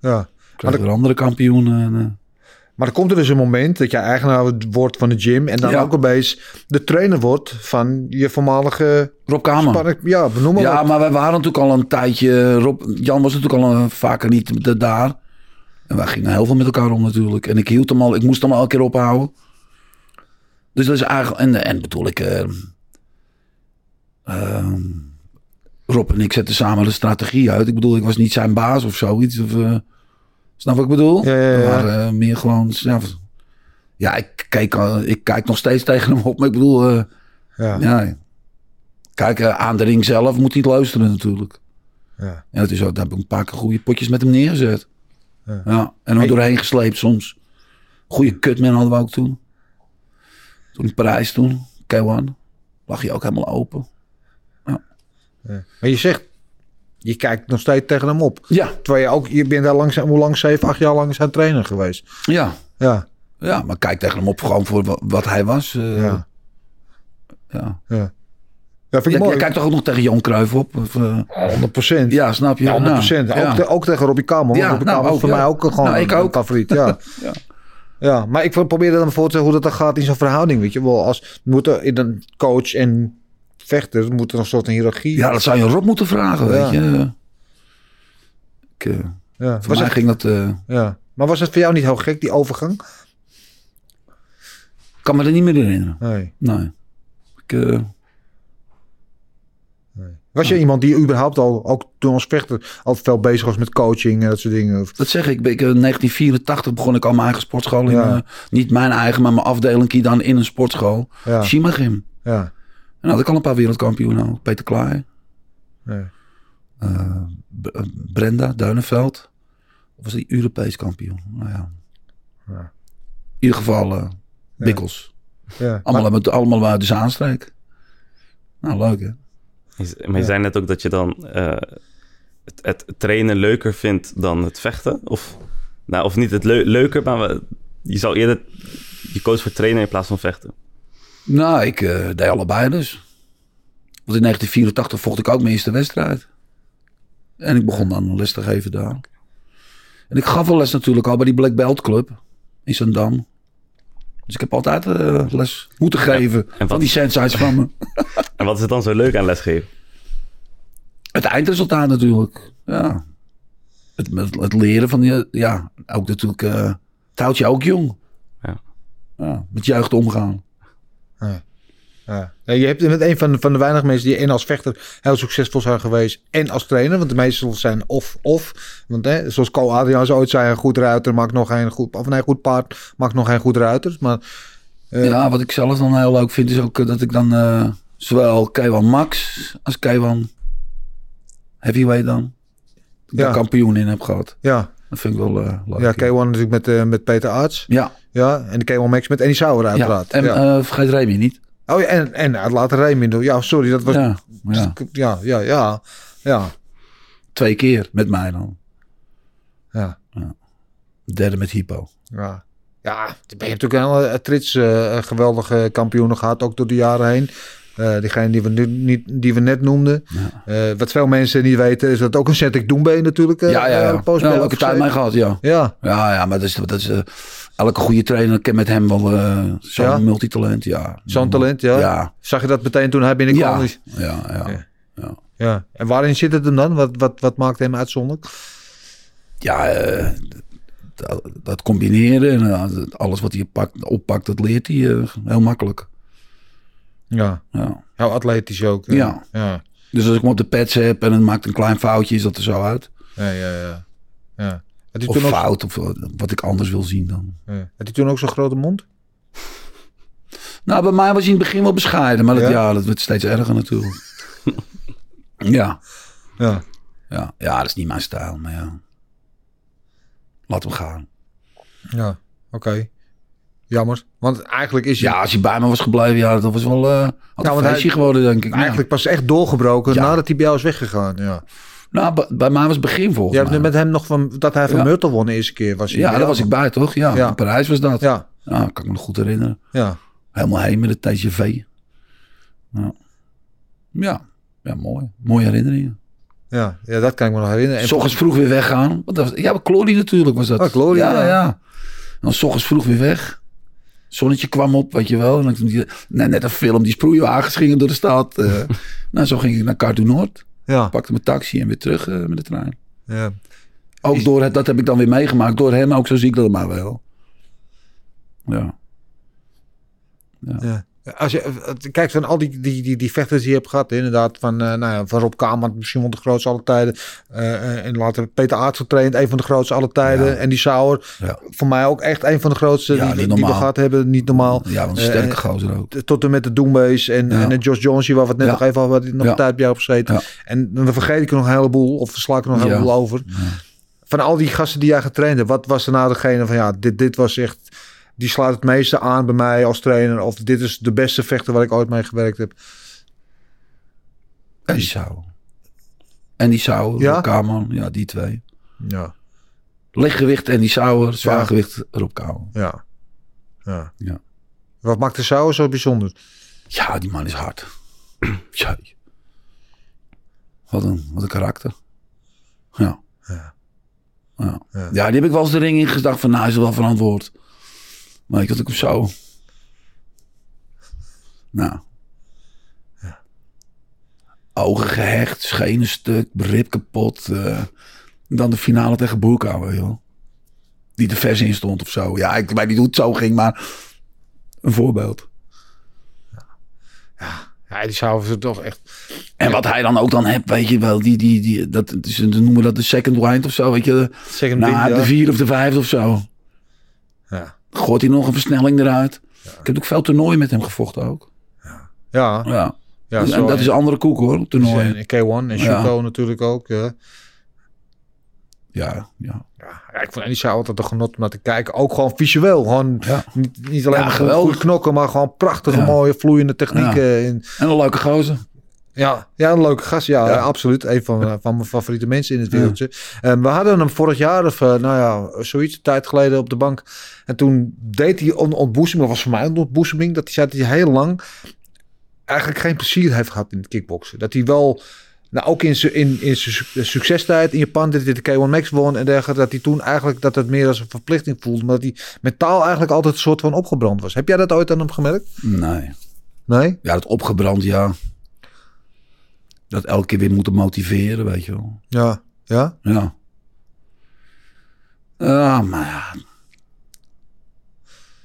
ja.
Kregen weer andere kampioenen. en, eh,
Maar er komt er dus een moment dat jij eigenaar wordt van de gym. En dan
Ja.
ook opeens de trainer wordt van je voormalige...
Rob Kamer.
Spark, ja, benoem maar
ja,
wat.
maar wij waren natuurlijk al een tijdje. Rob, Jan was natuurlijk al eh, vaker niet da- daar. En wij gingen heel veel met elkaar om natuurlijk. En ik hield hem al, ik moest hem al een keer ophouden. Dus dat is eigenlijk. En, en bedoel ik. eh, ehm, Rob en ik zetten samen de strategie uit. Ik bedoel, ik was niet zijn baas of zoiets. Of, eh, snap wat ik bedoel?
Ja, ja, ja.
We waren eh, meer gewoon. Ja, ja ik, kijk, eh, ik kijk nog steeds tegen hem op. Maar ik bedoel. eh,
Ja. Ja.
ja. Kijk, eh, aan de ring zelf moet hij het luisteren natuurlijk.
Ja.
En dat is ook, daar heb ik een paar keer goede potjes met hem neergezet.
Ja.
Ja. En hem doorheen gesleept soms. Goede kutman hadden we ook toen. Toen in Parijs toen, K1, lag hij ook helemaal open.
Maar je zegt, je kijkt nog steeds tegen hem op.
Ja,
Terwijl je ook, je bent daar langzaam, hoe lang? Zeven, acht jaar lang zijn trainer geweest.
ja.
Ja,
Ja, maar kijk tegen hem op gewoon voor wa- wat hij was. eh,
ja.
ja.
Ja, vind ik
Jij, jij
mooi.
kijkt toch ook nog tegen Jan Cruijff op? Of, eh,
100 procent. Ja,
ja, snap je?
100
Nou,
Ook,
ja.
te- ook tegen Robbie Kamer. want
Ja,
Robbie
nou,
Kamer is
ook,
voor
ja.
mij ook gewoon
Nou, ik
een
ook.
favoriet. Ja. ja.
Ja.
maar ik probeerde dan voor te hoe dat dan gaat in zo'n verhouding. Weet je wel, als moet er in een coach en vechter moet er een soort hiërarchie.
Ja, dat zou je Rob moeten vragen,
Ja.
weet je. Ik, eh,
Ja.
voor
Was
mij
het,
ging dat... eh,
ja. Maar was het voor jou niet heel gek, die overgang?
kan me er niet meer herinneren.
Nee.
Nee. Ik, eh,
Was je iemand die überhaupt al, ook toen als vechter, al veel bezig was met coaching en dat soort dingen? Of,
dat zeg ik. ik. eh, In 1984 begon ik al mijn eigen sportschool. In,
Ja.
eh, niet mijn eigen, maar mijn afdeling dan in een sportschool.
ja,
Shimagim.
ja,
En had ik al een paar wereldkampioenen. al. Peter Klaai,
ja.
eh, B- eh, Brenda Duinenveld. Of was die Europees kampioen? Nou ja.
Ja.
In ieder geval eh Bikkels.
ja.
Allemaal, uit- allemaal uit de Zaanstreek. Nou, leuk hè?
Is- Maar je zei net ook dat je dan eh, het, het trainen leuker vindt dan het vechten. Of, nou, of niet het leu- leuker, maar we- je zou eerder... Je koos voor trainen in plaats van vechten.
Nou, ik eh, deed allebei dus. Want in 1984 vocht ik ook mijn eerste wedstrijd. En ik begon dan les te geven daar. En ik gaf wel les natuurlijk al bij die Black Belt Club in Zandam. Dus ik heb altijd eh, les moeten geven
wat-
van die sensites van me.
En wat is het dan zo leuk aan lesgeven?
Het eindresultaat natuurlijk, ja. Het, het, het leren van, die- ja, ook natuurlijk, eh het houdt je ook jong.
Ja.
ja, met juicht omgaan.
Ja. Ja, je hebt bent een van de, van de weinige mensen die en als vechter heel succesvol zijn geweest en als trainer. Want de meesten zijn of, of. Want hè, zoals Ko Adriaans ooit zei, een goed ruiter maakt nog geen goed, of nee, goed paard maakt nog geen goed ruiter. Maar Eh.
Ja, wat ik zelf dan heel leuk vind is ook eh, dat ik dan eh, zowel Keiwan Max als Keiwan Heavyweight dan
Ja.
daar kampioen in heb gehad.
ja,
Dat vind ik wel eh, leuk.
ja K1 natuurlijk met, eh, met Peter Arts.
Ja,
Ja, en de K1 Max met Annie Sauer
ja.
uiteraard. Ja,
En eh, vergeet Remy niet.
oh, ja, en, en het later Raymond doen. Ja, sorry, dat was... Ja,
Ja, ja,
ja, ja, ja. ja,
twee keer met mij dan.
ja.
Derde met Hypo.
Ja. Ja, dan ben je natuurlijk een hele trits eh, geweldige kampioenen gehad, ook door de jaren heen. Eh diegene die we, nu, niet, die we net noemden. Eh, wat veel mensen niet weten, is dat ook een Cedric Doembe natuurlijk. eh,
ja, ja,
eh,
ja.
een
ja
poos bij
leuke
heeft
tijd mee
gezeten.
gehad, ja.
Ja,
Ja, ja, maar dat is, dat is, eh, elke goede trainer kent met hem wel eh, zo'n
Ja.
multitalent. Ja.
zo'n talent, ja.
Ja.
Zag je dat meteen toen hij binnenkwam?
Ja,
Dus-
ja, ja.
Ja.
ja.
ja. En waarin zit het hem dan? Wat, wat, wat maakt hem uitzonderlijk?
eh, dat, dat combineren en eh, alles wat hij pakt, oppakt, dat leert hij eh, heel makkelijk.
Ja,
Ja.
heel atletisch ook. eh.
Ja.
Ja,
Dus als ik hem op de pads heb en het maakt een klein foutje, is dat er zo uit.
ja, ja. ja. ja. Had, hij
Of
toen ook,
fout, of eh, wat ik anders wil zien dan.
ja. had hij toen ook zo'n grote mond?
Nou, bij mij was hij in het begin wel bescheiden, maar dat,
Ja?
ja? dat werd steeds erger natuurlijk. ja,
Ja.
ja, ja, dat is niet mijn stijl, maar ja. Laat hem gaan.
Ja, oké. Jammer. Want eigenlijk is hij
Ja, als hij bij me was gebleven, ja, dat was wel eh had
want
een
hij-
feestje geworden, denk ik. Ja.
Nou, eigenlijk pas echt doorgebroken
Ja.
nadat hij bij jou is weggegaan. Ja.
Nou, bij, bij mij was het begin volgens
Je hebt
mij.
het met hem nog van dat hij van
Ja.
Myrtle won de eerste keer. Was hij
Ja,
bij
daar
jou.
was ik bij, toch? Ja,
Ja.
in Parijs was dat. Ja.
Ja,
kan ik me nog goed herinneren.
ja.
Helemaal heen met het TGV. Ja, ja, ja mooi. Mooie herinneringen.
Ja, ja, dat kan ik me nog herinneren.
En
En
s ochtends vroeg weer weggaan. Want dat was, ja, maar Glory natuurlijk was dat.
Ah, Glory,
ja.
ja.
ja. En dan s ochtends vroeg weer weg. Zonnetje kwam op, weet je wel. En dan, die- net, net een film, die sproeiwagens gingen door de stad. eh. nou, zo ging ik naar Cartoon Noord.
ja,
Pakte mijn taxi en weer terug eh, met de trein.
ja.
Ook
Is-
door het, dat heb ik dan weer meegemaakt. Door hem ook, zo zie ik dat maar wel. Ja.
Ja. Als je eh, kijkt van al die, die, die, die vechters die je hebt gehad, inderdaad, van, eh, nou ja, van Rob Kamer, misschien wel de grootste alle tijden. eh, eh, en later Peter Aarts getraind, een van de grootste alle tijden.
Ja.
En die Sauer,
Ja.
voor mij ook echt een van de grootste
Ja,
die,
niet
die we
normaal.
gehad hebben. Niet normaal.
Ja, want een
Eh,
sterke
eh,
gozer ook.
tot en met de Doombees en,
Ja.
en de Josh Jones, waar we het net
Ja.
nog even hadden, die nog
Ja.
een tijd bij jou op gezeten.
Ja.
En dan vergeet ik er nog een heleboel, of sla ik er nog een
Ja.
heleboel over. Van al die gasten die jij getraind hebt, wat was er nou degene van, ja, dit, dit was echt, die slaat het meeste aan bij mij als trainer, of dit is de beste vechter waar ik ooit mee gewerkt heb.
En die zou. En die zou,
Ja?
Rob Kamer, ja, die twee.
Ja,
Lichtgewicht en die Sauer, zwaargewicht Rob Kamer.
ja, ja.
Ja.
Wat maakt de Sauer zo bijzonder?
Ja, die man is hard. Tjai. Wat een, wat een karakter. Ja.
Ja.
Ja.
Ja.
ja, die heb ik wel eens de ring in gedacht van, nou, is wel verantwoord. Maar ik had ik hem zo. Nou. Ogen gehecht, schenen stuk, rib kapot. eh. dan de finale tegen Broekhouwer, joh. Die de vers in stond of zo. Ja, ik weet niet hoe het zo ging, maar een voorbeeld.
Ja, die Sauer is toch echt,
En wat hij dan ook dan hebt, weet je wel, die, die, die, dat, het is- ze noemen dat de second wind of zo, weet je.
zeg hem
Na
ding,
Nou, de
ja.
vier of de vijf of zo.
Ja.
Gooit hij nog een versnelling eruit. Ik heb ook veel toernooien met hem gevochten ook.
Ja,
Ja.
ja,
en dat is een andere koek hoor, toernooien.
en K1 en
Ja.
Shuko natuurlijk ook. Ja.
Ja, ja.
Ja, ja, ik vond Anissa altijd een genot om naar te kijken. Ook gewoon visueel. Gewoon
Ja.
niet, niet alleen
Ja,
maar
geweldig.
goed knokken, maar gewoon prachtige,
Ja.
mooie, vloeiende technieken. Ja,
En een leuke gozer.
ja, ja een leuke gast. Ja,
Ja.
ja, absoluut. Een van, eh, van mijn favoriete mensen in het wereldje. En we hadden hem vorig jaar of, eh, nou ja, zoiets, een tijd geleden op de bank. En toen deed hij een ontboezeming, dat was voor mij een ontboezeming, dat hij zei dat hij heel lang eigenlijk geen plezier heeft gehad in het kickboksen. Dat hij wel, nou ook in zijn in, in zijn suc- succestijd in Japan, dat hij de K1 Max won en dergelijke, dat hij toen eigenlijk dat het meer als een verplichting voelde, maar dat hij mentaal eigenlijk altijd een soort van opgebrand was. Heb jij dat ooit aan hem gemerkt?
Nee.
Nee?
Ja, dat opgebrand, ja. Dat elke keer weer moeten motiveren, weet je wel.
Ja. Ja?
Ja. Ja, maar ja. Ah,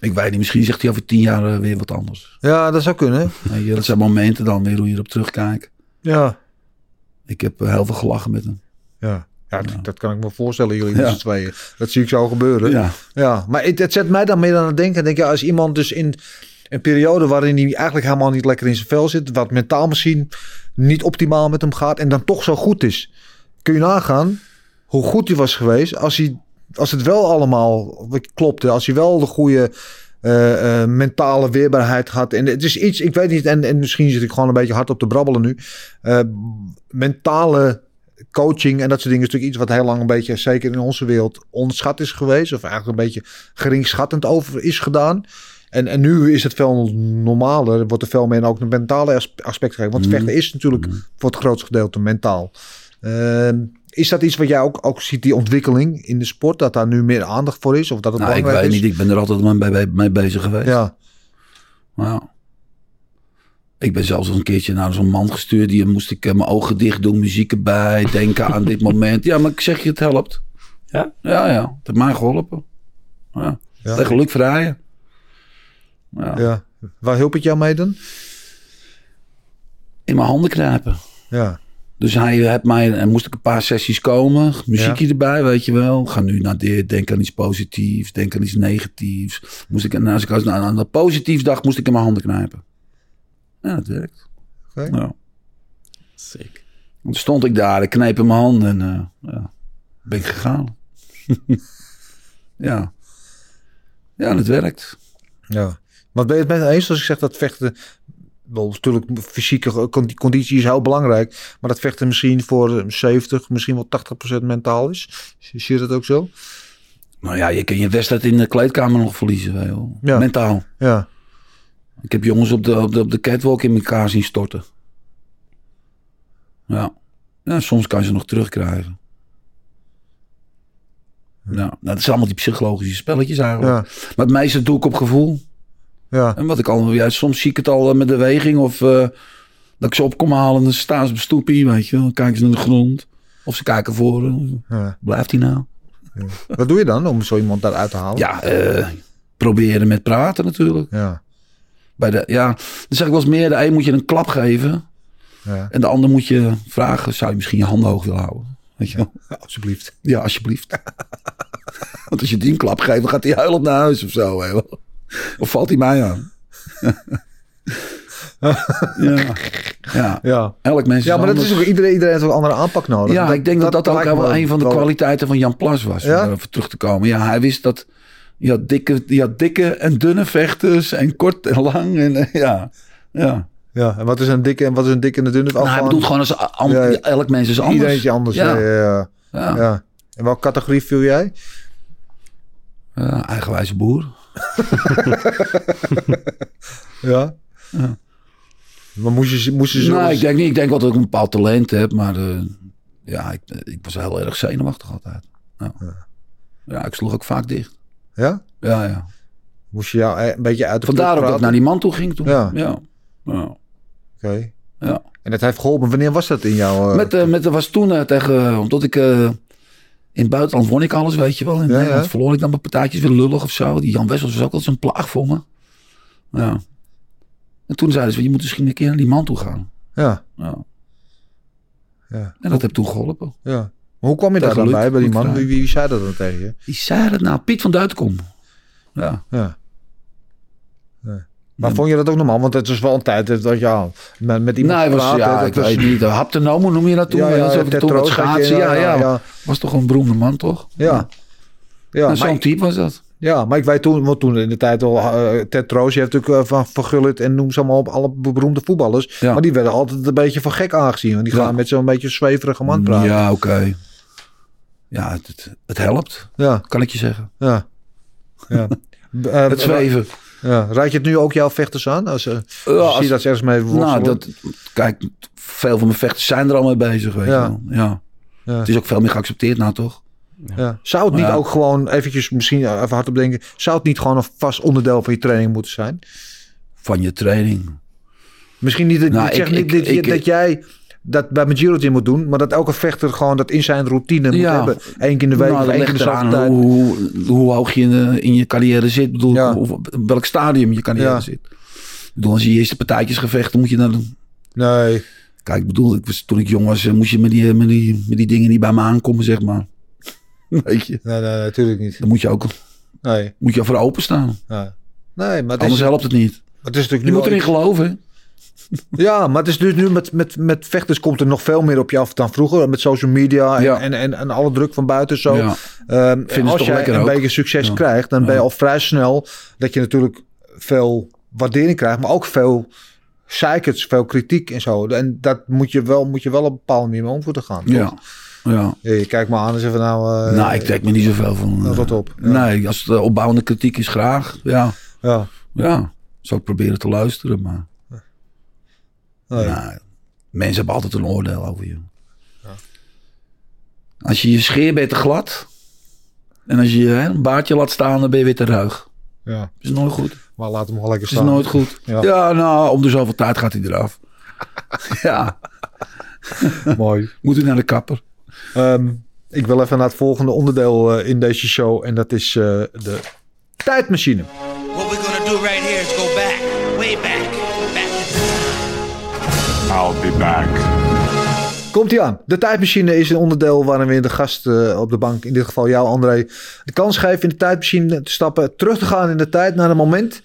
Ik weet niet, misschien zegt hij over tien jaar eh, weer wat anders.
Ja, dat zou kunnen.
Weet je, dat zijn momenten dan weer hoe je erop terugkijkt.
Ja.
Ik heb eh, heel veel gelachen met hem.
Ja. Ja, dat- dat kan ik me voorstellen, jullie
Ja.
met z'n tweeën. Dat zie ik zo gebeuren.
Ja,
Ja, maar het, het zet mij dan meer aan het denken. Ik Denk, ja, als iemand dus in een periode waarin hij eigenlijk helemaal niet lekker in zijn vel zit, wat mentaal misschien niet optimaal met hem gaat en dan toch zo goed is, kun je nagaan hoe goed hij was geweest als, hij, als het wel allemaal klopte, als hij wel de goede eh, eh, mentale weerbaarheid had. En het is iets, ik weet niet, en, en misschien zit ik gewoon een beetje hard op te brabbelen nu. Eh, mentale coaching en dat soort dingen is natuurlijk iets wat heel lang een beetje, zeker in onze wereld, onderschat is geweest. Of eigenlijk een beetje geringschattend over is gedaan. En, en nu is het veel normaler, wordt er veel meer ook een mentale as- aspect gegeven. Want
Mm.
vechten is natuurlijk voor het grootste gedeelte mentaal. Ehm, is dat iets wat jij ook, ook ziet, die ontwikkeling in de sport? Dat daar nu meer aandacht voor is? Of dat het
nou, ik
belangrijk
weet
is?
niet. Ik ben er altijd maar mee, mee bezig geweest.
Ja,
Ja. Ik ben zelfs al een keertje naar zo'n man gestuurd. Die moest ik eh, mijn ogen dicht doen, muziek erbij, denken aan dit moment. Ja, maar ik zeg je, het helpt.
Ja?
Ja, ja. Het heeft mij geholpen. Ja.
Ja.
Tegen Luc Vrijen. Ja.
ja. Waar hielp het jou mee dan?
In mijn handen knijpen.
Ja,
Dus hij heeft mij, en moest ik een paar sessies komen, muziekje erbij, weet je wel. Ga nu naar dit, denk aan iets positiefs, denk aan iets negatiefs. Moest ik, en als ik als- aan aan dat positiefs dacht, moest ik in mijn handen knijpen. Ja, dat werkt.
oké.
Ja.
Sick.
Want toen stond ik daar, ik kneep in mijn hand en eh, ja, ben ik gegaan. ja. Ja, dat werkt.
Ja. Maar ben je het met me eens als ik zeg dat vechten... Wel, natuurlijk, fysieke condi- conditie is heel belangrijk. Maar dat vechten misschien voor 70, misschien wel 80% mentaal is. Zie je dat ook zo?
Nou ja, je kan je wedstrijd in de kleedkamer nog verliezen, hè, joh.
Ja.
mentaal.
Ja,
Ik heb jongens op de, op, de, op de catwalk in elkaar zien storten. Ja. ja soms kan je ze nog terugkrijgen. Ja, nou, dat zijn allemaal die psychologische spelletjes eigenlijk.
ja,
Maar het meeste doe ik op gevoel.
ja.
En wat ik al, ja, soms zie ik het al eh, met de weging of eh, dat ik ze op kom halen en dan staan ze op stoepie, weet je wel. Dan kijken ze naar de grond. Of ze kijken voor. eh,
ja.
Blijft hij nou?
Wat doe je dan om zo iemand daaruit te halen?
Ja, eh, proberen met praten natuurlijk.
Ja,
Bij de, ja, dan zeg ik wel eens meer, de een moet je een klap geven.
ja.
En de ander moet je vragen, zou je misschien je handen hoog willen houden? Weet je wel?
alsjeblieft.
Ja, alsjeblieft. Want als je die een klap geeft, dan gaat hij huilend naar huis of zo. Hè? Of valt hij mij aan? ja. ja,
Ja,
elk mens
ja maar dat
anders.
is ook, iedereen, iedereen heeft ook een andere aanpak nodig.
Ja, ik denk dat dat, ook
lijkt me
wel een van de
wel-
kwaliteiten van Jan Plas was.
Ja?
Om daarover terug te komen. Ja, hij wist dat. Je had dikke, je had dikke en dunne vechters. En kort en lang. En, eh, ja. ja.
Ja, en wat is een dikke en wat is een dikke en een dunne?
Nou, hij bedoelt gewoon als a- am-
Ja, ja.
elk mens is anders.
Iedereen is anders. Ja. Ja,
Ja.
ja,
Ja.
ja. En welke categorie viel jij?
Ja, eigenwijze boer.
Ja. Maar moest je, moest je zo...
Nou, ik denk niet. Ik denk wel dat ik een bepaald talent heb. Maar eh, ja, ik, eh, ik was heel erg zenuwachtig altijd. Ja. ja, ik sloeg ook vaak dicht.
Ja?
Ja, ja.
Moest je jou eh, een beetje uit de
Vandaar ook
club
dat ik naar
praten?
die man toe ging toen.
Ja.
Ja. ja.
Oké.
ja.
En dat heeft geholpen. Wanneer was dat in jou? eh?
Met, eh, met, dat was toen eh, tegen, eh, omdat ik eh, in het buitenland won ik alles, weet je wel. In
Ja,
Nederland
ja.
verloor ik dan mijn partijtjes weer lullig of zo. Die Jan Wessels was ook altijd zo'n plaag voor me. Ja. En toen zeiden ze, je moet misschien een keer naar die man toe gaan.
Ja,
Ja.
ja,
En dat heb toen geholpen.
ja. Maar hoe kwam je daar
Tegen
dan
Luc
bij, bij die
moet
man?
vragen.
Wie, wie zei dat dan tegen je?
Die zei dat nou, Piet van Duitkom. Ja.
Ja. Ja. Maar
Ja.
vond je dat ook normaal? Want het was wel een tijd dat ja, met, met iemand
Nou, hij was,
praten,
ja,
dat
ik
was-
weet niet, eh, haptonomo noem je dat toen?
Ja,
wel
ja,
eens, of
Ted
toen wat
Roos had je,
schaatsen, ja, ja,
ja.
Was toch een beroemde man, toch?
Ja. Ja,
Nou,
maar
zo'n
ik,
type was dat.
ja, maar ik weet toen, want toen in de tijd al, eh, Ted Roos, je hebt natuurlijk eh, van Van Gullit en noem ze allemaal op, alle beroemde voetballers.
Ja.
Maar die werden altijd een beetje van gek aangezien. Want die
Ja.
gaan met zo'n beetje zweverige man praten. Ja,
Ja, oké. Ja, het, het, het helpt,
ja,
kan ik je zeggen.
ja. B- eh,
Het zweven.
Ja. Raad je het nu ook jouw vechters aan? Als, eh,
Ja,
als je
als-
ziet dat ze ergens mee
Nou,
worstelen?
dat, kijk, veel van mijn vechters zijn er al mee bezig, weet
Ja.
je wel. Ja.
Ja.
Het is ook veel meer geaccepteerd nou, toch?
Ja. Zou het niet
Ja.
ook gewoon, eventjes misschien eh, even hardop denken, zou het niet gewoon een vast onderdeel van je training moeten zijn?
Van je training.
Misschien niet, dat-
Nou,
ik zeg
ik-
niet
ik-
dat, je-
ik-
dat jij dat bij mijn Giro Gym moet doen. Maar dat elke vechter gewoon dat in zijn routine moet
Ja.
hebben. Eén keer in de dus week
Nou,
of
dat
één keer in
ligt
de zoveel
eraan
tijd.
hoe, hoe, hoe hoog je in, de- in je carrière zit. Ik bedoel,
Ja.
of op welk stadium je carrière
Ja.
zit. Ik bedoel, als je je eerste partijtjes gevecht, dan moet je naar... de-
Nee.
Kijk, ik bedoel, ik was, toen ik jong was, eh, moest je met die, eh, met, die, met die dingen niet bij me aankomen, zeg maar. Weet je,
Nee, nee, natuurlijk niet.
daar moet je ook
Nee.
moet je voor openstaan.
Nee, nee maar, het is,
Anders helpt het niet.
maar het is natuurlijk
Je
nu
moet
al-
erin geloven.
Ja, maar het is dus nu met, met, met vechters komt er nog veel meer op je af dan vroeger. Met social media en,
Ja.
en, en, en alle druk van buiten zo.
Ja.
Ehm, en
ze
als
toch
jij
lekker
een
ook.
beetje succes
Ja.
krijgt, dan ben je al vrij snel dat je natuurlijk veel waardering krijgt, maar ook veel zeikers, veel kritiek en zo. En dat moet je wel, moet je wel op een bepaalde manier mee om moeten gaan. toch?
Ja. ja.
Ja, je kijkt me aan en zegt van nou... eh,
nou, ik trek me niet zoveel van.
eh,
eh,
rot op. Ja.
Nee, als het eh, opbouwende kritiek is, graag. Ja,
Ja,
ja. Zou ik proberen te luisteren, maar...
nee.
Nou, mensen hebben altijd een oordeel over je. Als je je scheert, ben je te glad. En als je hè, een baardje laat staan, dan ben je weer te ruig.
ja.
Is nooit goed.
Maar laat hem gewoon lekker
Is
staan.
nooit goed.
Ja.
Ja. nou, om de zoveel tijd gaat hij eraf. ja,
Mooi.
moet hij naar de kapper.
Ehm, ik wil even naar het volgende onderdeel eh, in deze show. En dat is eh, de tijdmachine.
What we're gonna do right here is go back, way back, back.
I'll be back.
Komt ie aan. De tijdmachine is een onderdeel waarin we de gast eh, op de bank, in dit geval jou André, de kans geven in de tijdmachine te stappen, terug te gaan in de tijd naar een moment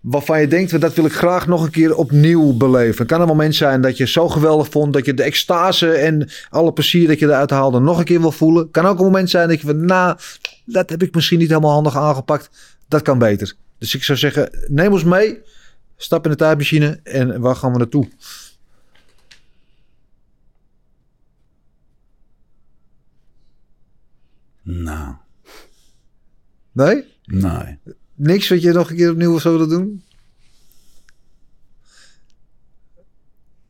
waarvan je denkt, dat wil ik graag nog een keer opnieuw beleven. Het kan een moment zijn dat je zo geweldig vond, dat je de extase en alle plezier dat je eruit haalde nog een keer wil voelen. Het kan ook een moment zijn dat je van, nou, dat heb ik misschien niet helemaal handig aangepakt. Dat kan beter. Dus ik zou zeggen, neem ons mee, stap in de tijdmachine en waar gaan we naartoe?
Nou,
Nee?
nee.
Niks wat je nog een keer opnieuw zou willen doen?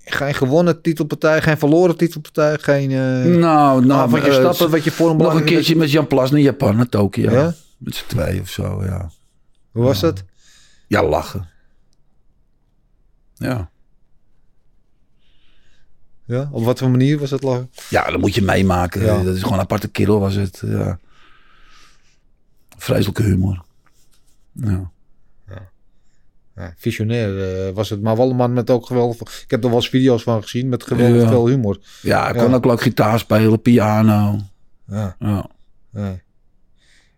Geen gewonnen titelpartij, geen verloren titelpartij, geen... eh
nou, nou,
ah, wat je
eh,
stappen, wat je voor een
nog een
belangrijk-
keertje met Jan Plas naar Japan, naar Tokio.
Ja?
Met z'n twee of zo, ja.
Hoe was dat?
Ja, lachen. Ja.
Ja? Op wat voor manier was dat lachen?
Ja, dat moet je meemaken.
Ja.
Dat is gewoon een aparte kerel was het. Ja. Vreselijke humor. Ja.
Ja, visionair eh, was het, maar wel een man met ook geweldig... Ik heb er wel eens video's van gezien met geweldig
Ja.
veel humor.
ja, ik kon
Ja.
ook leuk gitaar spelen, piano.
Ja,
Ja.
ja.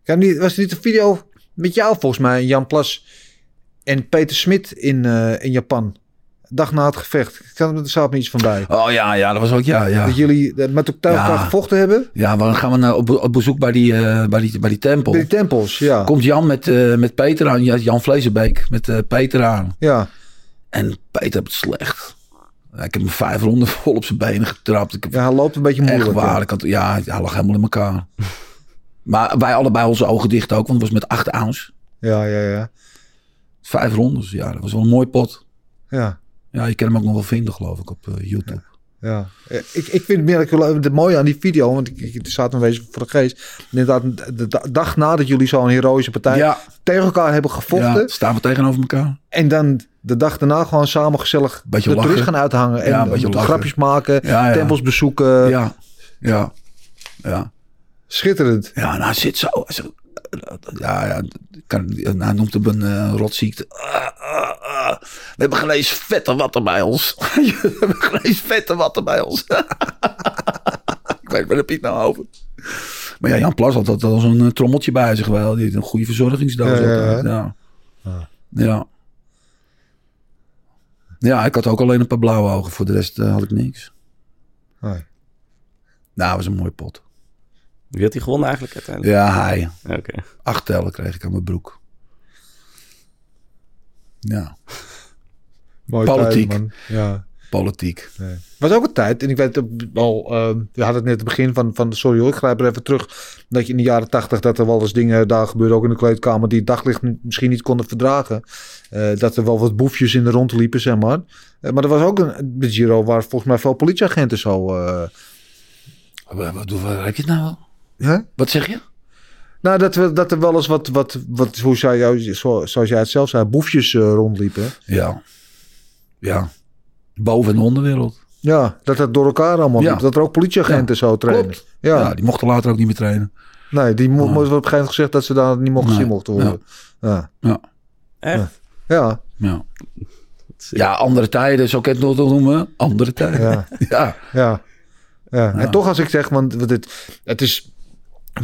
Ik heb niet, was er niet een video met jou volgens mij, Jan Plas en Peter Smit in, eh, in Japan? Dag na het gevecht. Ik kan er staat me iets van bij.
Oh ja, ja, dat was ook, ja, ja.
Dat jullie eh, met elkaar
Ja.
gevochten hebben?
Ja, dan gaan we naar, op, op bezoek bij die, eh, bij die, bij die tempel.
Bij die tempels, ja.
Komt Jan met, eh, met Peter aan, Ja, Jan Vlezenbeek, met eh, Peter aan.
Ja,
En Peter heeft het slecht. Ik heb hem vijf ronden vol op zijn benen getrapt. Ik heb
ja, hij loopt een beetje moeilijk.
Echt waar.
ja.
Ik had, ja, hij lag helemaal in elkaar. maar wij allebei onze ogen dicht ook, want het was met 8 ounce.
Ja, ja, ja.
Vijf rondes, ja. Dat was wel een mooi pot.
Ja,
Ja, je kan hem ook nog wel vinden, geloof ik, op eh, YouTube.
ja. Eh, Ik, ik vind het meer dat- het mooie aan die video, want ik, ik het staat een beetje voor de geest. Inderdaad, de da- dag nadat jullie zo'n heroïsche partij
Ja.
tegen elkaar hebben gevochten.
Ja, staan we tegenover elkaar.
En dan de dag daarna gewoon samen gezellig
Beetje
de terug
lachen.
gaan uithangen. En
Ja, een beetje
eh,
lachen.
grapjes maken,
Ja, ja.
tempels bezoeken.
Ja, ja, ja.
Schitterend.
Ja, en hij zit zo. Hij zegt, ja, ja kan, hij noemt hem een eh, rotziekte. Ah, ah, ah. We hebben geen eens vette watten bij ons. We hebben geen eens vette watten bij ons. ik weet waar heb je het nou over. Maar ja, Jan Plas had altijd al zo'n eh, trommeltje bij zich wel. Die had een goede verzorgingsdoos.
Ja, ja, ja.
altijd, ja. ja. Ja, ik had ook alleen een paar blauwe ogen. Voor de rest eh, had ik niks.
Nee.
Nou, het was een mooi pot.
Wie had die gewonnen eigenlijk uiteindelijk?
Ja, hij.
Oké.
Acht tellen kreeg ik aan mijn broek. Ja,
Mooie
Politiek.
tijd, man. Ja.
politiek.
Nee. Was ook een tijd, en ik weet het al, ehm je had het net het begin van, van, sorry hoor, ik grijp er even terug, dat je in de jaren tachtig, dat er wel eens dingen daar gebeurden, ook in de kleedkamer, die het daglicht n- misschien niet konden verdragen. Eh, dat er wel wat boefjes in de rond liepen, zeg maar. Eh, maar er was ook een de Giro waar volgens mij veel politieagenten zo... eh,
Wat, wat, wat heb je het nou?
hè?
Wat zeg je?
Nou, dat, we, dat er wel eens wat, wat, wat hoe zou jou, zo- zoals jij het zelf zei, boefjes eh, rondliepen.
Ja. Ja. Boven- en onderwereld.
Ja, dat dat door elkaar allemaal
Ja.
liep. Dat er ook politieagenten
Ja,
zo trainen.
klopt.
Ja.
Ja, die mochten later ook niet meer trainen.
nee, die mo- mo- werd op een gegeven moment gezegd dat ze daar niet mochten
Nee.
zien mochten worden. Ja.
Ja,
Echt?
Ja.
ja.
Sick.
ja andere tijden, zo kan je het nog noemen. Andere tijden.
Ja.
Ja.
Ja. ja. En toch als ik zeg, want want het, het is